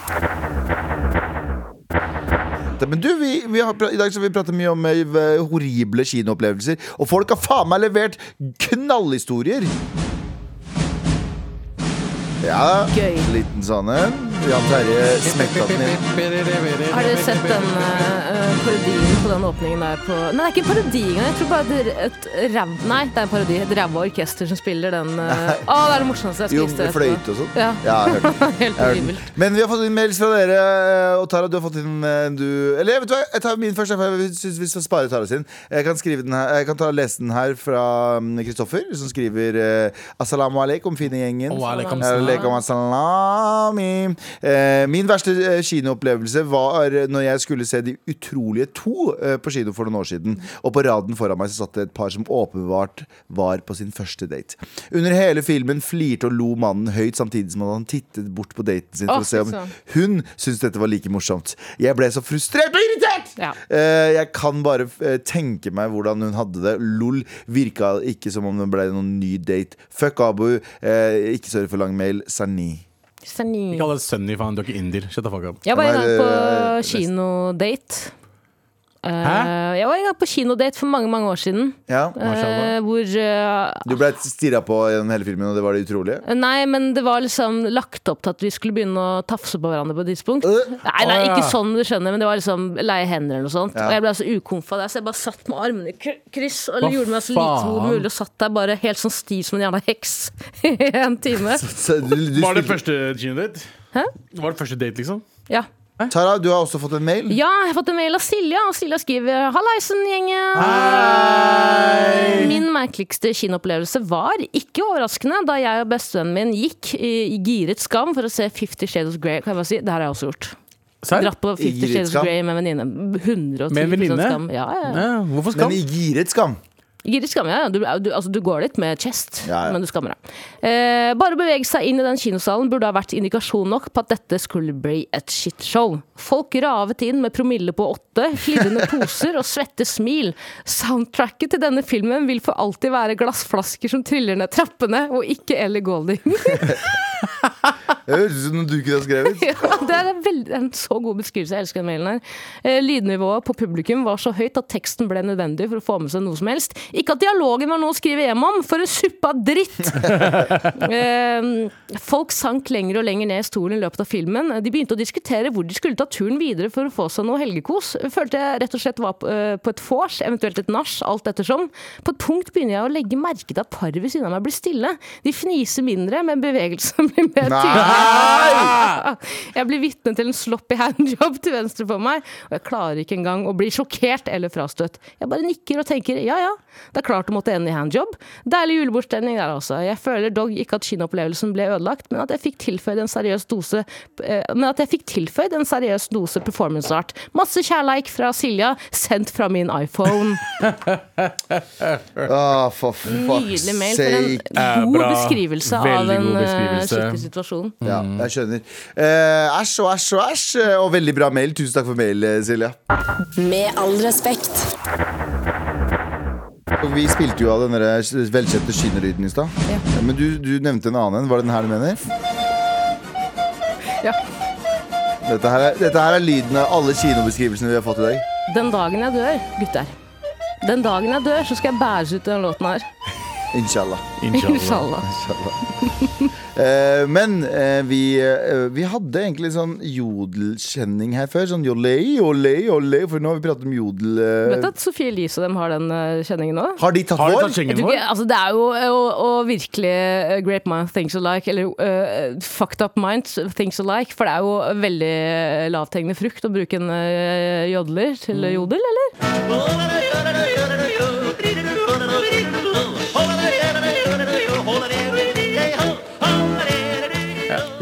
Speaker 3: Men du, vi, vi har, pra- I dag skal vi prate mye om eh, horrible kinoopplevelser. Og folk har faen meg levert knallhistorier! Ja,
Speaker 4: Gøy.
Speaker 3: liten sånn en. Jan Terje smekta den inn.
Speaker 4: Har dere sett den eh, parodien på den åpningen der på Nei, det er ikke en parodi engang. Jeg tror bare det er et ræv... Nei, det er en parodi. Et ræva orkester som spiller den eh, Å, det er det morsomste jeg
Speaker 3: Jo,
Speaker 4: har spist.
Speaker 3: med fløyte og sånn.
Speaker 4: Ja.
Speaker 3: Ja, jeg har hørt den.
Speaker 4: Helt
Speaker 3: Jeg har hørt den.
Speaker 4: horribelt.
Speaker 3: Men vi har fått inn mails fra dere, og Tara, du har fått inn eh, du Eller vet du hva, jeg tar min først, for jeg syns vi skal spare Tara sin. Jeg kan, skrive den her, jeg kan ta, lese den her fra mm, Kristoffer, som skriver eh, Assalamu alaikum, fine gjengen.
Speaker 2: Wa alaikum
Speaker 3: Eh,
Speaker 2: salam.
Speaker 3: alaikum assalami. Eh, Min verste eh, kinoopplevelse var eh, når jeg skulle se De utrolige to eh, på kino for noen år siden. Og på raden foran meg så satt det et par som åpenbart var på sin første date. Under hele filmen flirte og lo mannen høyt samtidig som han tittet bort på daten sin for
Speaker 4: Å,
Speaker 3: å se om
Speaker 4: fy søren.
Speaker 3: hun syntes dette var like morsomt. Jeg ble så frustrert og irritert!
Speaker 4: Ja.
Speaker 3: Eh, jeg kan bare eh, tenke meg hvordan hun hadde det. Lol. Virka ikke som om det ble noen ny date. Fuck Abu. Eh, ikke sorry for lang mail. Sarni.
Speaker 4: Sani.
Speaker 2: Ikke alle Sunny, faen. Du er ikke indier. Shut the fuck up.
Speaker 4: Jeg var en gang
Speaker 3: Nei,
Speaker 4: på
Speaker 3: det-
Speaker 4: kinodate. Eh,
Speaker 2: Hæ?
Speaker 4: Jeg var en gang på kinodate for mange mange år siden.
Speaker 3: Ja.
Speaker 2: Mashallah.
Speaker 4: eh, Hvor eh,
Speaker 3: Du ble stirra på gjennom hele filmen, og det var det utrolige?
Speaker 4: Nei, men det var liksom lagt opp til at vi skulle begynne å tafse på hverandre på et tidspunkt.
Speaker 3: Øh.
Speaker 4: Nei, nei,
Speaker 2: Eh, Å, ja.
Speaker 4: ikke sånn, du skjønner, men det var liksom leie hender eller noe sånt.
Speaker 3: Ja.
Speaker 4: Og jeg ble altså ukomfa der, så jeg bare satt med armene i kry- kryss og
Speaker 2: Hva
Speaker 4: gjorde meg så lite som
Speaker 2: faen?
Speaker 4: mulig og satt der bare helt sånn stiv som en jævla heks i en time.
Speaker 3: Så du, du
Speaker 2: Var det
Speaker 3: spilte-
Speaker 2: første kinodate?
Speaker 4: Hæ?
Speaker 2: Var det første date, liksom?
Speaker 4: Ja.
Speaker 3: Tara, du har også fått en mail.
Speaker 4: ja, jeg har fått en mail av Silja, og Silja skriver 'Hallaisen, gjengen'. Min merkeligste kinoopplevelse var ikke overraskende da jeg og bestevennen min gikk i i giret skam for å se 'Fifty Shades of Grey'. Kan jeg bare si, Det har jeg også gjort.
Speaker 2: Serr?
Speaker 4: Dratt på
Speaker 3: I
Speaker 4: 'Fifty
Speaker 3: giret
Speaker 4: Shades of
Speaker 3: skam?
Speaker 4: Grey' med en venninne. 110
Speaker 2: Med en venninne?
Speaker 4: skam. Ja, ja.
Speaker 2: Ja, hvorfor
Speaker 3: Men
Speaker 2: skam?
Speaker 3: i giret skam.
Speaker 4: Giret skam, ja. ja. Du, du, altså, du går litt med chest,
Speaker 3: Ja, ja.
Speaker 4: men du skammer deg. Eh, bare å bevege seg inn i den kinosalen burde ha vært indikasjon nok på at dette skulle bli et shitshow. Folk ravet inn med promille på åtte, klirrende poser og svette smil. Soundtracket til denne filmen vil for alltid være glassflasker som triller ned trappene, og ikke Ellie Golding.
Speaker 3: Det høres ut som noe du ikke har skrevet.
Speaker 4: Ja, det er en, veld- en så god beskrivelse. Jeg elsker den mailen her. Eh, lydnivået på publikum var så høyt at teksten ble nødvendig for å få med seg noe som helst. Ikke at dialogen var noe å skrive hjem om, for en suppe av dritt! eh, folk sank lenger og lenger ned i stolen i løpet av filmen. De begynte å diskutere hvor de skulle ta turen videre for å få seg noe helgekos. Følte jeg rett og slett var på, eh, på et vors, eventuelt et nach, alt ettersom. På et punkt begynner jeg å legge merke til at paret ved siden av meg blir stille. De fniser mindre, men bevegelsen blir mer tydelig. Jeg blir vitne til en sloppy handjob til venstre for meg, og jeg klarer ikke engang å bli sjokkert eller frastøtt. Jeg bare nikker og tenker ja ja, det er klart det måtte ende i handjob. Deilig julebordstemning der altså. Jeg føler dog ikke at kinoopplevelsen ble ødelagt, men at jeg fikk tilføyd en seriøs dose eh, Men at jeg fikk tilføyd en seriøs dose performance art. Masse kjærleik fra Silja, sendt fra min iPhone.
Speaker 3: Ah, for fuck's
Speaker 4: Nydelig mail for en
Speaker 3: sake.
Speaker 4: god
Speaker 2: bra.
Speaker 4: beskrivelse av
Speaker 2: Veldig
Speaker 4: en
Speaker 2: god
Speaker 4: eh,
Speaker 2: beskrivelse.
Speaker 4: skikkelig situasjon.
Speaker 3: Ja, jeg skjønner. Eh, Æsj og æsj og æsj. eh, Og veldig bra mail. Tusen takk for mail, eh, Silja.
Speaker 5: Med all respekt.
Speaker 3: Og Vi spilte jo av den der velkjente skinnerlyden i stad. Men du, du nevnte en annen en. Var det den her du mener?
Speaker 4: Ja.
Speaker 3: Dette her, er, dette her er lyden av alle kinobeskrivelsene vi har fått i dag.
Speaker 4: Den dagen jeg dør, gutter Den dagen jeg dør, så skal jeg bæres ut i den låten her
Speaker 3: Inshallah.
Speaker 2: Inshallah.
Speaker 4: Inshallah
Speaker 3: Eh, men eh, vi, eh, vi hadde egentlig sånn jodelkjenning her før. Sånn jolei, jolei, jolei. For nå har vi pratet om jodel. eh.
Speaker 4: Vet du at Sofie Elise og dem har den eh, kjenningen nå?
Speaker 3: har de tatt
Speaker 2: Har du
Speaker 3: vår?
Speaker 2: tatt skjengen
Speaker 4: Jeg tror
Speaker 2: vår?
Speaker 4: ikke, altså det er jo eh, å, å virkelig eh, Great mind thinks alike Eller eh, fucked up minds thinks alike For det er jo veldig eh, lavthengende frukt Å bruke en eh, jodler til jodel, eller?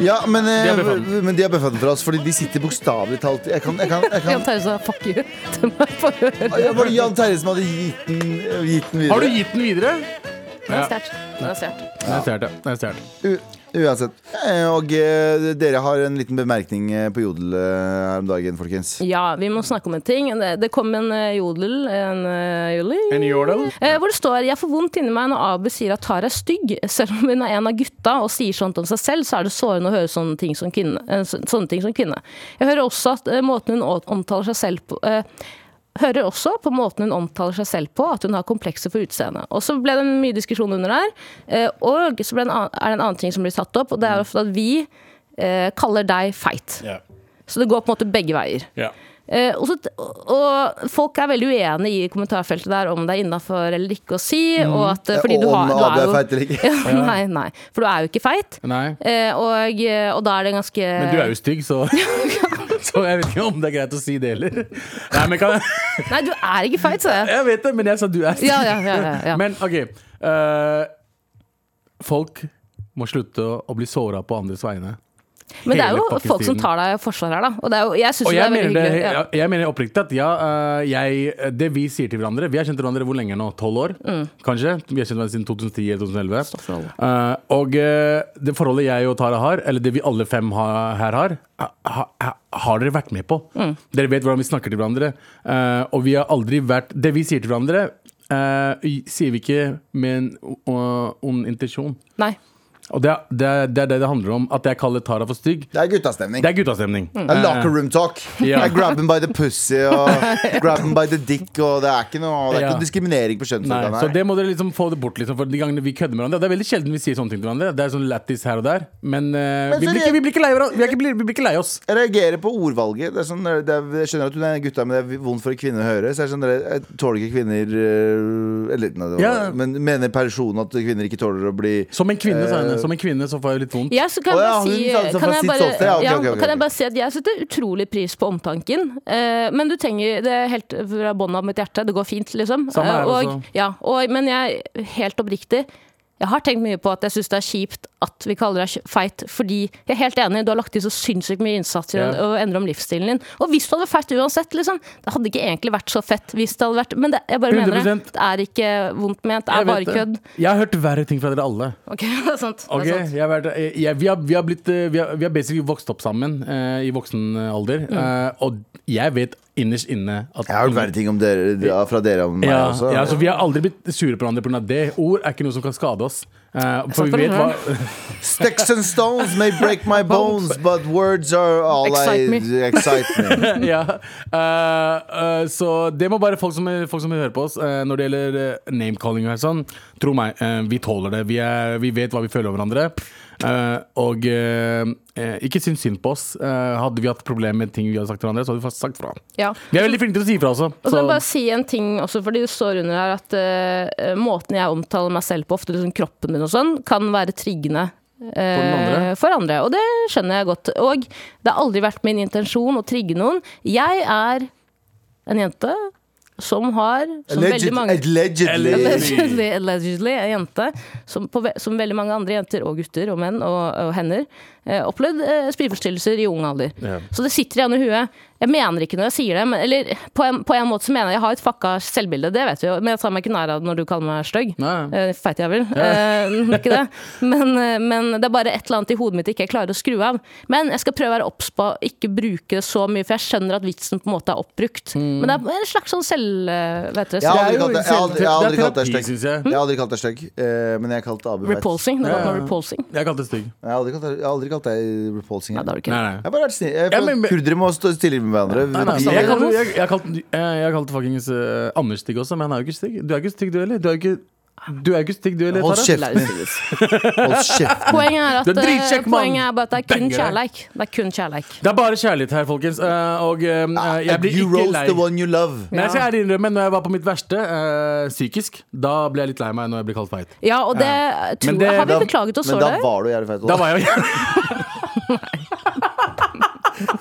Speaker 3: Ja, men, eh,
Speaker 2: De har bøffet
Speaker 3: men de har bøffet den fra oss, fordi de sitter bokstavelig talt Jeg kan, jeg kan, jeg
Speaker 4: Jan
Speaker 3: kan
Speaker 4: Terje sa fuck you til meg på øret
Speaker 3: Det var det Jan Terje som hadde gitt den, gitt den videre.
Speaker 2: Har du gitt den videre?
Speaker 4: Det er stjert Det er stjert
Speaker 2: Jeg stjal det. Jeg stjal det.
Speaker 3: U uansett. Eh, Og eh, dere har en liten bemerkning eh, på Jodel eh, her om dagen, folkens.
Speaker 4: Ja, vi må snakke om en ting. Det, det kom en eh, jodel, en eh, jodel
Speaker 2: En jodel?
Speaker 4: Eh, hvor det står 'Jeg får vondt inni meg når Abu sier at Tara er stygg'. Selv om hun er en av gutta og sier sånt om seg selv, så er det sårende å høre sånne ting som kvinne. eh, så- sånne ting som kvinne. Jeg hører også at eh, måten hun å- omtaler seg selv på eh, Hører også på måten hun omtaler seg selv på, at hun har komplekser for utseendet. Og så ble det mye diskusjon under der. eh, Og så ble det en annen, er det en annen ting som blir tatt opp, og det er ofte at vi eh, kaller deg feit.
Speaker 2: Ja.
Speaker 4: Så det går på en måte begge veier.
Speaker 2: Ja.
Speaker 4: Eh, og, så, t- og folk er veldig uenige i kommentarfeltet der om det er innafor eller ikke å si. Og at, eh, fordi
Speaker 3: Og
Speaker 4: du
Speaker 3: om
Speaker 4: har, du
Speaker 3: Abu
Speaker 4: er
Speaker 3: er
Speaker 4: jo,
Speaker 3: feit eller ikke.
Speaker 4: Ja, nei, nei, for du er jo ikke feit.
Speaker 2: Nei.
Speaker 4: Eh, og, eh, og da er det ganske
Speaker 2: Men du er jo stygg, så Så jeg vet ikke om det er greit å si det heller. Nei, men kan jeg
Speaker 4: Nei, du er ikke feit, sa jeg.
Speaker 2: Jeg vet det, men jeg sa du er stygg.
Speaker 4: Ja, ja, ja, ja, ja.
Speaker 2: Men OK. eh, folk må slutte å- å bli såra på andres vegne.
Speaker 4: Men det er
Speaker 2: hele
Speaker 4: jo
Speaker 2: fuckings
Speaker 4: folk som
Speaker 2: tiden.
Speaker 4: tar deg i forsvar her, da. Og det er jo, jeg syns
Speaker 2: Og
Speaker 4: jo det
Speaker 2: jeg
Speaker 4: er veldig
Speaker 2: mener, det,
Speaker 4: hyggelig. Ja.
Speaker 2: jeg, jeg mener oppriktig at ja, eh, jeg, det vi sier til hverandre Vi har kjent hverandre hvor lenge nå? Tolv år,
Speaker 4: Mm.
Speaker 2: kanskje? Vi har kjent hverandre siden 2010 eller 2011. Eh, og eh, det forholdet jeg og Tara har, eller det vi alle fem har, her har, ha, ha, har dere vært med på.
Speaker 4: Mm.
Speaker 2: Dere vet hvordan vi snakker til hverandre. eh, og vi har aldri vært Det vi sier til hverandre, eh, i- sier vi ikke med en o- ond intensjon.
Speaker 4: Nei.
Speaker 2: Og det er, det er det er det det handler om. At jeg kaller Tara for stygg.
Speaker 3: Det er guttastemning.
Speaker 2: Det er guttastemning.
Speaker 3: Det er locker room talk.
Speaker 2: Ja.
Speaker 3: Det er grab him by the pussy og grab him by the dick. Og det er ikke noe, det er
Speaker 2: Ja.
Speaker 3: ikke noe diskriminering
Speaker 2: Nei,
Speaker 3: på
Speaker 2: så
Speaker 3: kjønnsorganet. her.
Speaker 2: det må dere liksom få det bort, liksom, for de gangene vi kødder med hverandre. Det er veldig sjelden vi sier sånne ting til hverandre. Det er sånn lættis her og der. Men, eh,
Speaker 3: Men
Speaker 2: vi, blir
Speaker 3: så det-
Speaker 2: ikke, vi, blir ikke lei, hverandre- vi, er ikke, vi blir ikke lei oss.
Speaker 3: Jeg reagerer på ordvalget. Det er sånn, det er, jeg skjønner at hun er en gutta, men det er vondt for en kvinne å høre. Så jeg, skjønner, jeg eh, tåler ikke kvinner øh, eller, nei, det var,
Speaker 2: Ja.
Speaker 3: Men mener personen at kvinner ikke tåler å bli
Speaker 2: Som en kvinne, sa
Speaker 3: Eh,
Speaker 2: hun. Som en kvinne så får jeg litt vondt.
Speaker 4: Ja, så kan,
Speaker 3: Å
Speaker 4: jeg
Speaker 3: ja,
Speaker 4: bare
Speaker 3: hun
Speaker 4: si,
Speaker 3: sa det
Speaker 4: kan,
Speaker 3: fra
Speaker 4: jeg
Speaker 3: sitt
Speaker 4: bare,
Speaker 3: ståsted. Ja, ok,
Speaker 4: ja,
Speaker 3: ok, ok,
Speaker 4: kan jeg
Speaker 3: ok.
Speaker 4: bare si at jeg setter utrolig pris på omtanken. eh, men du trenger det er helt fra bånn av mitt hjerte. Det går fint, liksom.
Speaker 2: Samme her
Speaker 4: Eh,
Speaker 2: også.
Speaker 4: og, ja, og, men jeg helt oppriktig jeg har tenkt mye på at jeg syns det er kjipt at vi kaller deg feit, fordi jeg er helt enig, du har lagt i så sinnssykt mye innsats i
Speaker 2: Ja.
Speaker 4: å å endre om livsstilen din. Og hvis du hadde vært feit uansett, liksom, det hadde ikke egentlig vært så fett hvis det hadde vært Men det, jeg bare mener det.
Speaker 2: 100%.
Speaker 4: Det er ikke vondt ment, det
Speaker 2: Jeg
Speaker 4: er
Speaker 2: vet
Speaker 4: bare kødd.
Speaker 2: det. Jeg har hørt verre ting fra dere alle.
Speaker 4: Ok, det er sant.
Speaker 2: Ok,
Speaker 4: Det er sant.
Speaker 2: jeg har vært, jeg, jeg, vi, har, vi, har blitt, eh, vi, har, vi har basically vokst opp sammen eh, i voksen alder.
Speaker 4: Mm.
Speaker 2: eh, og jeg vet innerst inne at
Speaker 3: Jeg har hørt verre ting om dere, ja, fra dere om meg
Speaker 2: ja,
Speaker 3: også.
Speaker 2: ja, så Vi har aldri blitt sure på hverandre pga. det. Ord er ikke noe som kan skade oss. Eh, for
Speaker 4: sant,
Speaker 2: vi vet
Speaker 4: det er
Speaker 2: hva
Speaker 3: Sticks and stones may break my bones, but words are all
Speaker 4: Excite
Speaker 3: I
Speaker 4: me.
Speaker 3: excite me.
Speaker 2: ja. eh, eh, så det må bare folk som, folk som hører på oss, eh, når det gjelder eh, name-calling og sånn, tro meg, eh, vi tåler det. Vi, er, vi vet hva vi føler om hverandre. Eh, og eh, eh, ikke syns synd på oss. Eh, hadde vi hatt problemer med ting vi hadde sagt til hverandre, så hadde vi faktisk sagt fra.
Speaker 4: Ja.
Speaker 2: Vi er veldig flinke til å si fra også.
Speaker 4: Og så må jeg bare
Speaker 2: så-
Speaker 4: si en ting også, fordi det står under her at eh, måten jeg omtaler meg selv på, ofte liksom kroppen min og sånn, kan være triggende.
Speaker 2: den andre?
Speaker 4: eh, For andre. Og det skjønner jeg godt. Og det har aldri vært min intensjon å trigge noen. Jeg er en jente som har som
Speaker 3: Alleged,
Speaker 4: veldig mange
Speaker 3: allegedly.
Speaker 4: Allegedly, allegedly en jente som, på, ve- som veldig mange andre jenter og gutter og menn og, og hender eh, opplevd eh, spiseforstyrrelser i ung alder.
Speaker 2: Ja.
Speaker 4: Så det sitter igjen i huet. Jeg mener ikke når jeg sier det, men, eller på en, på en måte så mener jeg jeg har et fucka selvbilde, det vet vi jo, men jeg tar meg ikke nær av det når du kaller meg stygg.
Speaker 2: Nei.
Speaker 4: Eh, Feit jævel. Eh, ikke det. Men, eh, men det er bare et eller annet i hodet mitt jeg ikke klarer å skru av. Men jeg skal prøve å være obs på å ikke bruke det så mye, for jeg skjønner at vitsen på en måte er oppbrukt.
Speaker 2: Mm.
Speaker 4: Men det er en slags sånn selv... eh, Vet dere,
Speaker 2: Det
Speaker 3: Jeg har aldri
Speaker 2: er jo
Speaker 3: kalt deg- jeg har aldri- jeg
Speaker 2: selv- det
Speaker 3: har aldri kalt deg
Speaker 2: er terapi,
Speaker 3: stygg.
Speaker 2: synes jeg.
Speaker 3: Jeg har aldri kalt deg stygg, eh, men jeg kalte Abu feit.
Speaker 4: Repulsing. Det var noe repulsing.
Speaker 2: Jeg kalte det stygg.
Speaker 3: Jeg har aldri kalt deg- jeg har aldri kalt deg repulsing.
Speaker 4: Nei,
Speaker 3: Jeg
Speaker 4: det har du ikke.
Speaker 2: Nei, nei.
Speaker 3: har bare vært snill. Jeg
Speaker 2: Ja,
Speaker 3: føler
Speaker 2: men-
Speaker 3: at Kurdere må stå stille med
Speaker 2: Nei, nei, jeg
Speaker 3: hverandre.
Speaker 2: kalte, jeg, jeg kalte, jeg, jeg kalte fuckings eh, Anders stygg også, men han er jo ikke stygg. Du er ikke stygg, du heller. Du er ikke, du er ikke stygg, du heller.
Speaker 3: Hold
Speaker 2: Tara.
Speaker 3: kjeften din. Hold kjeften.
Speaker 4: Poenget er at eh,
Speaker 2: Du er dritkjekk, mann.
Speaker 4: poenget er bare at det er kun
Speaker 2: Banger.
Speaker 4: kjærleik. Det er kun kjærleik.
Speaker 2: Det er bare kjærlighet her, folkens. eh, og eh, jeg blir
Speaker 3: Ah, You
Speaker 2: ikke
Speaker 3: roast
Speaker 2: lei.
Speaker 3: the one you love.
Speaker 2: Men jeg skal ærlig innrømme, når jeg var på mitt verste eh, psykisk, da ble jeg litt lei meg når jeg ble kalt feit.
Speaker 4: Ja, og det tror
Speaker 2: det-
Speaker 4: jeg Har vi
Speaker 3: Da-
Speaker 4: beklaget oss
Speaker 3: Men
Speaker 4: så
Speaker 3: da
Speaker 4: det?
Speaker 3: var du jævlig feit.
Speaker 2: Da var jeg jo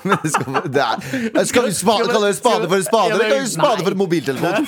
Speaker 3: Men det skal, det er, skal vi spa, kalle det spade for en spade, eller kalle det spade for en mobiltelefon?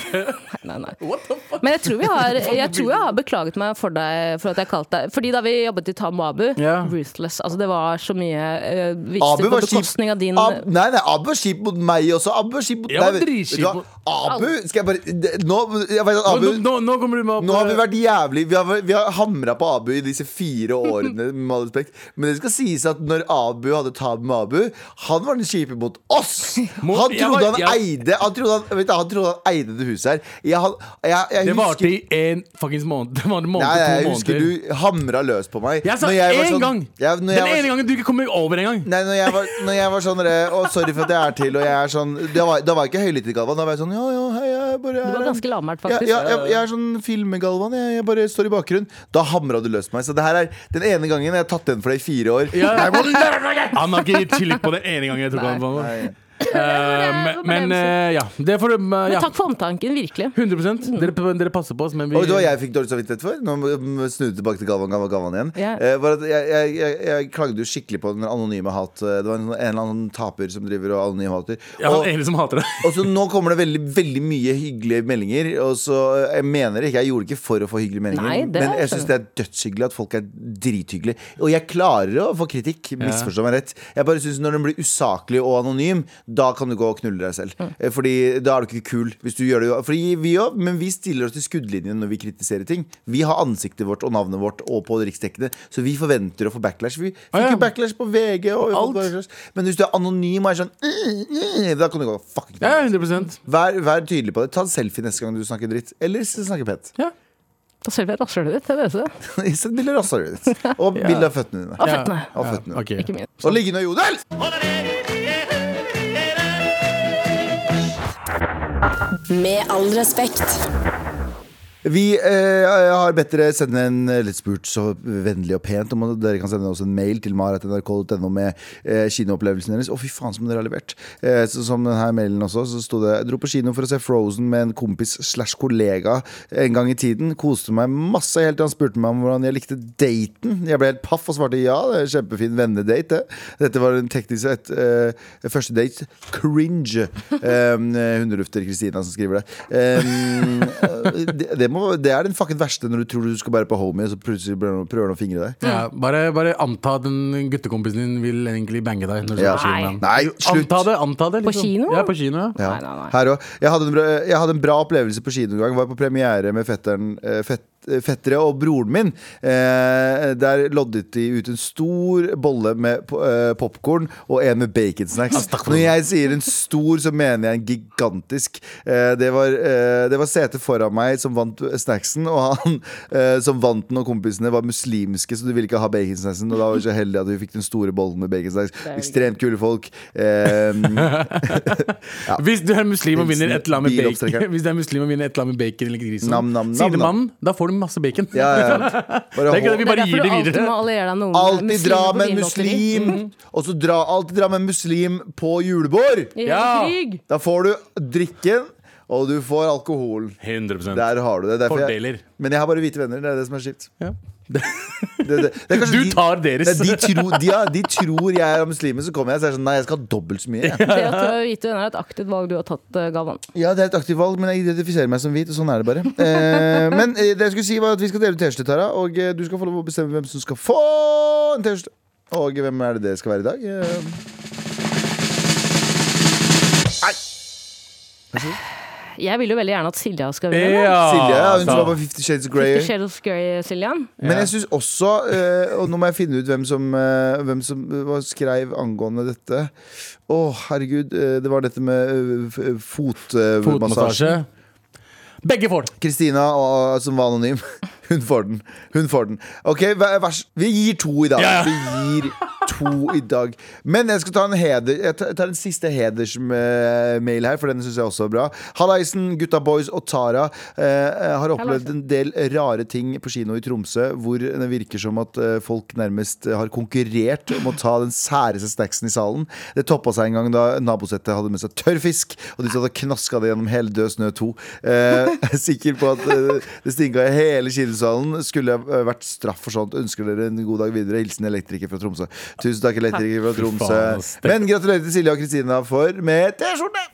Speaker 4: Nei, nei. Men jeg tror, vi har, jeg tror jeg har beklaget meg for deg for at jeg kalte deg Fordi da vi jobbet i Tam og Abu,
Speaker 2: Ja.
Speaker 4: ruthless. Altså, det var så mye uh,
Speaker 3: Abu
Speaker 4: vitser på
Speaker 3: var kjip.
Speaker 4: bekostning av din
Speaker 3: Ab, nei, nei, Abu var kjip mot meg også. Abu var kjip mot
Speaker 2: Jeg var
Speaker 3: nei, vet- vet du hva?
Speaker 2: dritkjip
Speaker 3: Abu Skal jeg bare det- Nå, jeg vet at Abu,
Speaker 2: nå, nå, nå kommer du med opp eh,
Speaker 3: nå har vi vært jævlig Vi har, vi har hamra på Abu i disse fire årene, med all respekt. Men det skal sies at når Abu hadde tab med Abu, han var den kjipe mot oss!
Speaker 2: Mot-
Speaker 3: Han
Speaker 2: jeg var-
Speaker 3: trodde han
Speaker 2: jeg-
Speaker 3: eide Han trodde han, vet du, han, trodde han eide det huset her. Jeg, han- jeg, jeg
Speaker 2: Det varte i
Speaker 3: husker
Speaker 2: en fuckings måned. Det var en måned
Speaker 3: Nei,
Speaker 2: til
Speaker 3: jeg
Speaker 2: to
Speaker 3: husker
Speaker 2: måneder.
Speaker 3: du hamra løs på meg.
Speaker 2: Jeg sa
Speaker 3: Når var
Speaker 2: én
Speaker 3: sånn-
Speaker 2: gang!
Speaker 3: Ja, når
Speaker 2: Den
Speaker 3: jeg var
Speaker 2: ene gangen du ikke kommer over engang.
Speaker 3: Nei, når jeg var, når jeg var sånn Å, sorry for at jeg er til Og jeg er sånn Da var, da var jeg ikke høylytt i Galvan Da var jeg sånn Ja, ja, hei, ja, jeg bare
Speaker 4: Du
Speaker 3: er
Speaker 4: var ganske lavmælt,
Speaker 3: ja,
Speaker 4: faktisk.
Speaker 3: ja, jeg, jeg er sånn filmegalvan. Jeg, jeg bare står i bakgrunnen. Da hamra du løs på meg. Så det her er den ene gangen jeg har tatt den for deg i fire år.
Speaker 2: Ja.
Speaker 3: Jeg må lære meg det!
Speaker 2: Han har ikke gitt tillit på det ene gangen. Jeg tok han på
Speaker 3: Nei.
Speaker 2: Eh, men- Men eh, ja. Det får du eh,
Speaker 4: Men
Speaker 2: ja.
Speaker 4: takk for omtanken, virkelig.
Speaker 2: 100 dere, dere passer på oss, men vi
Speaker 3: Og det var jeg fikk dårlig samvittighet for. Nå må jeg snu tilbake til Galvan, Galvan, Galvan igjen.
Speaker 4: Ja.
Speaker 3: Eh, var at jeg, jeg, jeg, jeg klagde jo skikkelig på den anonyme hat. Det var en, sånn- en eller annen taper som driver og anonym hater.
Speaker 2: Jeg er
Speaker 3: Og-
Speaker 2: han ene som hater deg.
Speaker 3: Og så Nå kommer det veldig, veldig mye hyggelige meldinger. Og så, eh, Jeg mener ikke, jeg gjorde det ikke for å få hyggelige meldinger,
Speaker 4: Nei, det
Speaker 3: men jeg
Speaker 4: skjønner
Speaker 3: syns det er dødshyggelig at folk er drithyggelige. Og jeg klarer å få kritikk, misforstå meg rett. Jeg bare syns når den blir usaklig og anonym, da kan du gå og knulle deg selv.
Speaker 4: Mm.
Speaker 3: Eh, Fordi da er du ikke kul. Hvis du gjør det jo- Fordi vi òg, men vi stiller oss til skuddlinjen når vi kritiserer ting. Vi har ansiktet vårt og navnet vårt og på riksdekkene, så vi forventer å få backlash. Vi
Speaker 2: Ah,
Speaker 3: fikk
Speaker 2: ja.
Speaker 3: jo backlash på VG og vi
Speaker 2: Alt.
Speaker 3: fikk backlash. Men hvis du er anonym og er sånn "Mm, mm", Da kan du gå og fucking
Speaker 2: Ja, 100
Speaker 3: Vær, vær tydelig på det. Ta en selfie neste gang du snakker dritt. Eller s- snakker pent.
Speaker 4: Da ser vi rasshølet ditt. Det er det som er
Speaker 3: Send bilde av rasshølet ditt. Og bilde av føttene dine.
Speaker 2: Ja.
Speaker 4: føttene.
Speaker 3: Av føttene.
Speaker 2: Ok.
Speaker 4: Ikke min.
Speaker 3: Og liggende og jodel!
Speaker 5: Med all respekt.
Speaker 3: Vi eh, har bedt dere sende en eller spurt så vennlig og pent om at dere kan sende oss en mail til maratnrk.no med eh, kinoopplevelsen deres. Å, fy faen som dere har levert. Eh, så, som denne mailen også, så sto det Jeg dro på kino for å se Frozen med en kompis slash kollega en gang i tiden. Koste meg masse helt til han spurte meg om hvordan jeg likte daten. Jeg ble helt paff og svarte ja, det er en kjempefin vennedate, det. Dette var en teknisk sett eh, første date. Cringe. Um, Hundelufter Kristina som skriver det. Em, eh, det, det, må, det er den fucking verste når du tror du skal være på homie, og så plutselig prøver noen- prøver noen å fingre deg.
Speaker 2: Ja, bare, bare anta at den guttekompisen din vil egentlig bange deg. Når du
Speaker 3: Ja.
Speaker 2: skal på kino med ham.
Speaker 3: Nei, slutt!
Speaker 2: Anta det. anta det liksom.
Speaker 4: På kino?
Speaker 2: Ja, på kino, ja.
Speaker 3: Ja.
Speaker 4: Nei, nei, nei.
Speaker 3: Her også. jeg, hadde en bra, jeg hadde en bra opplevelse på kino en gang. Var på premiere med fetteren, eh, fett, eh, fettere og broren min. Eh, der loddet de ut en stor bolle med po- eh, popkorn og en med baconsnacks. Når jeg sier en stor, så mener jeg en gigantisk. Eh, det var, eh, det var setet foran meg som vant snacksen, og han eh, som vant den, og kompisene var muslimske, så du ville ikke ha baconsnacksen. Og da var vi så heldige at vi fikk den store bollen med baconsnacks. Ekstremt kule folk. Eh,
Speaker 2: Hvis du er muslim og vinner et eller annet med
Speaker 3: Biloppstrekkeren.
Speaker 2: bacon, Hvis du er muslim og vinner et eller annet med bacon eller grisen,
Speaker 3: Nam, nam, nam,
Speaker 2: sidemannen, da får du masse bacon.
Speaker 3: Ja, ja, ja. Bare
Speaker 2: Det er ikke det
Speaker 3: hold-
Speaker 2: vi
Speaker 4: Det er
Speaker 2: bare gir
Speaker 4: derfor du
Speaker 2: det
Speaker 4: alltid
Speaker 2: videre.
Speaker 4: må alliere deg noen
Speaker 3: Alltid
Speaker 4: muslimer
Speaker 3: dra
Speaker 4: på
Speaker 3: med en
Speaker 4: vinlotteri.
Speaker 3: muslim,
Speaker 2: Mhm.
Speaker 3: og så dra, alltid dra med en muslim på julebord!
Speaker 4: I
Speaker 2: Ja.
Speaker 4: krig.
Speaker 3: Da får du drikken, og du får alkoholen.
Speaker 2: 100
Speaker 3: Der har du det. Derfor
Speaker 2: Fordeler.
Speaker 3: Jeg, men jeg har bare hvite venner. Det er det som er kjipt.
Speaker 2: Ja.
Speaker 3: Det, det, det er kanskje
Speaker 2: Du tar deres.
Speaker 3: Nei, De, tror- de, har- de tror jeg er muslimer, så kommer jeg og sier sånn Nei, jeg skal ha dobbelt så mye. jeg."
Speaker 4: Det at du har hvite venner, er et aktivt valg du har tatt, eh, Galvan.
Speaker 3: Ja, det er et aktivt valg, men jeg identifiserer meg som hvit, og sånn er det bare. Eh, men eh, det jeg skulle si var at vi skal dele ut T-skjorte, Tara, og eh, du skal få lov å bestemme hvem som skal få en T-skjorte. Og hvem er det det skal være i dag? Eh,
Speaker 4: Jeg vil jo veldig gjerne at Silja skal vinne. da.
Speaker 2: Ja,
Speaker 3: Silje, ja, hun
Speaker 2: sa-
Speaker 3: som var på Fifty Shades of
Speaker 4: Fifty
Speaker 3: Grey.
Speaker 4: Shades of Grey, Siljan.
Speaker 3: Men jeg syns også, eh, og nå må jeg finne ut hvem som, eh, hvem som eh, hva skrev angående dette Å, herregud, eh, det var dette med eh, f- fotmassasje.
Speaker 2: Fotmassasje. Begge får det.
Speaker 3: Kristina, og- som var anonym, hun får den. Hun får den. OK, vær vær så Vi gir to i dag.
Speaker 2: Ja, ja.
Speaker 3: Vi gir to i dag. Men jeg skal ta en heder Jeg tar jeg tar en siste hedersmail her, for den syns jeg også er bra. Hallaisen, gutta boys og Tara eh, har opplevd en del rare ting på kino i Tromsø, hvor det virker som at eh, folk nærmest har konkurrert om å ta den særeste snacksen i salen. Det toppa seg en gang da nabosettet hadde med seg tørrfisk, og de satt og knaska det gjennom hele Død snø 2. Eh, jeg er sikker på at eh, det stinka i hele kinosalen. Skulle eh, vært straff for sånt. Ønsker dere en god dag videre. Hilsen elektriker fra Tromsø. Tusen takk, elektriker fra Tromsø.
Speaker 2: faen, ass.
Speaker 3: Men gratulerer til Silje og Kristina for med T-skjorte!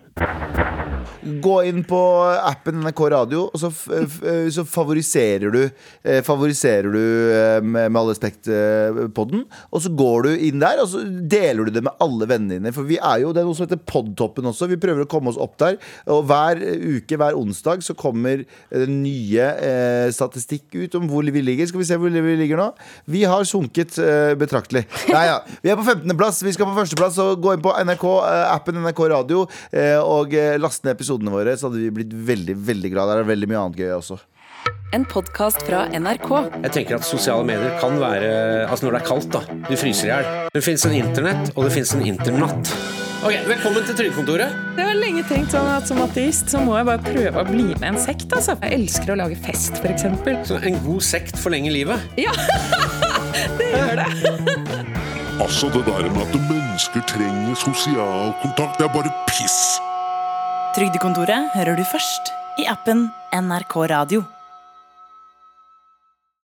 Speaker 3: Gå inn på appen NRK Radio, og så, f f eh, så favoriserer du eh, Favoriserer du eh, med, med all respekt eh, podden. Og så går du inn der, og så deler du det med alle vennene dine. For vi er jo, det er noe som heter Podtoppen også. Vi prøver å komme oss opp der. Og hver eh, uke, hver onsdag, så kommer eh, nye eh, statistikk ut om hvor vi ligger. Skal vi se hvor vi ligger nå? Vi har sunket eh, betraktelig. Nei, ja. Vi er på 15.-plass, vi skal på førsteplass. Så gå inn på NRK, eh, appen NRK Radio eh, og eh, last ned episodene våre. Så hadde vi blitt veldig veldig glad. Der er veldig mye annet gøy også.
Speaker 1: En podkast fra NRK.
Speaker 7: Jeg tenker at sosiale medier kan være Altså når det er kaldt, da. Du fryser i hjel. Det fins en internett, og det fins en internatt. Ok, Velkommen til Trygdekontoret.
Speaker 8: Jeg har lenge tenkt sånn at som ateist så må jeg bare prøve å bli med en sekt. Altså. Jeg elsker å lage fest, f.eks.
Speaker 7: Så En god sekt forlenger livet.
Speaker 8: Ja! det gjør det.
Speaker 9: Altså det der med at mennesker trenger sosial kontakt, det er bare piss.
Speaker 1: Trygdekontoret hører du først i appen NRK Radio.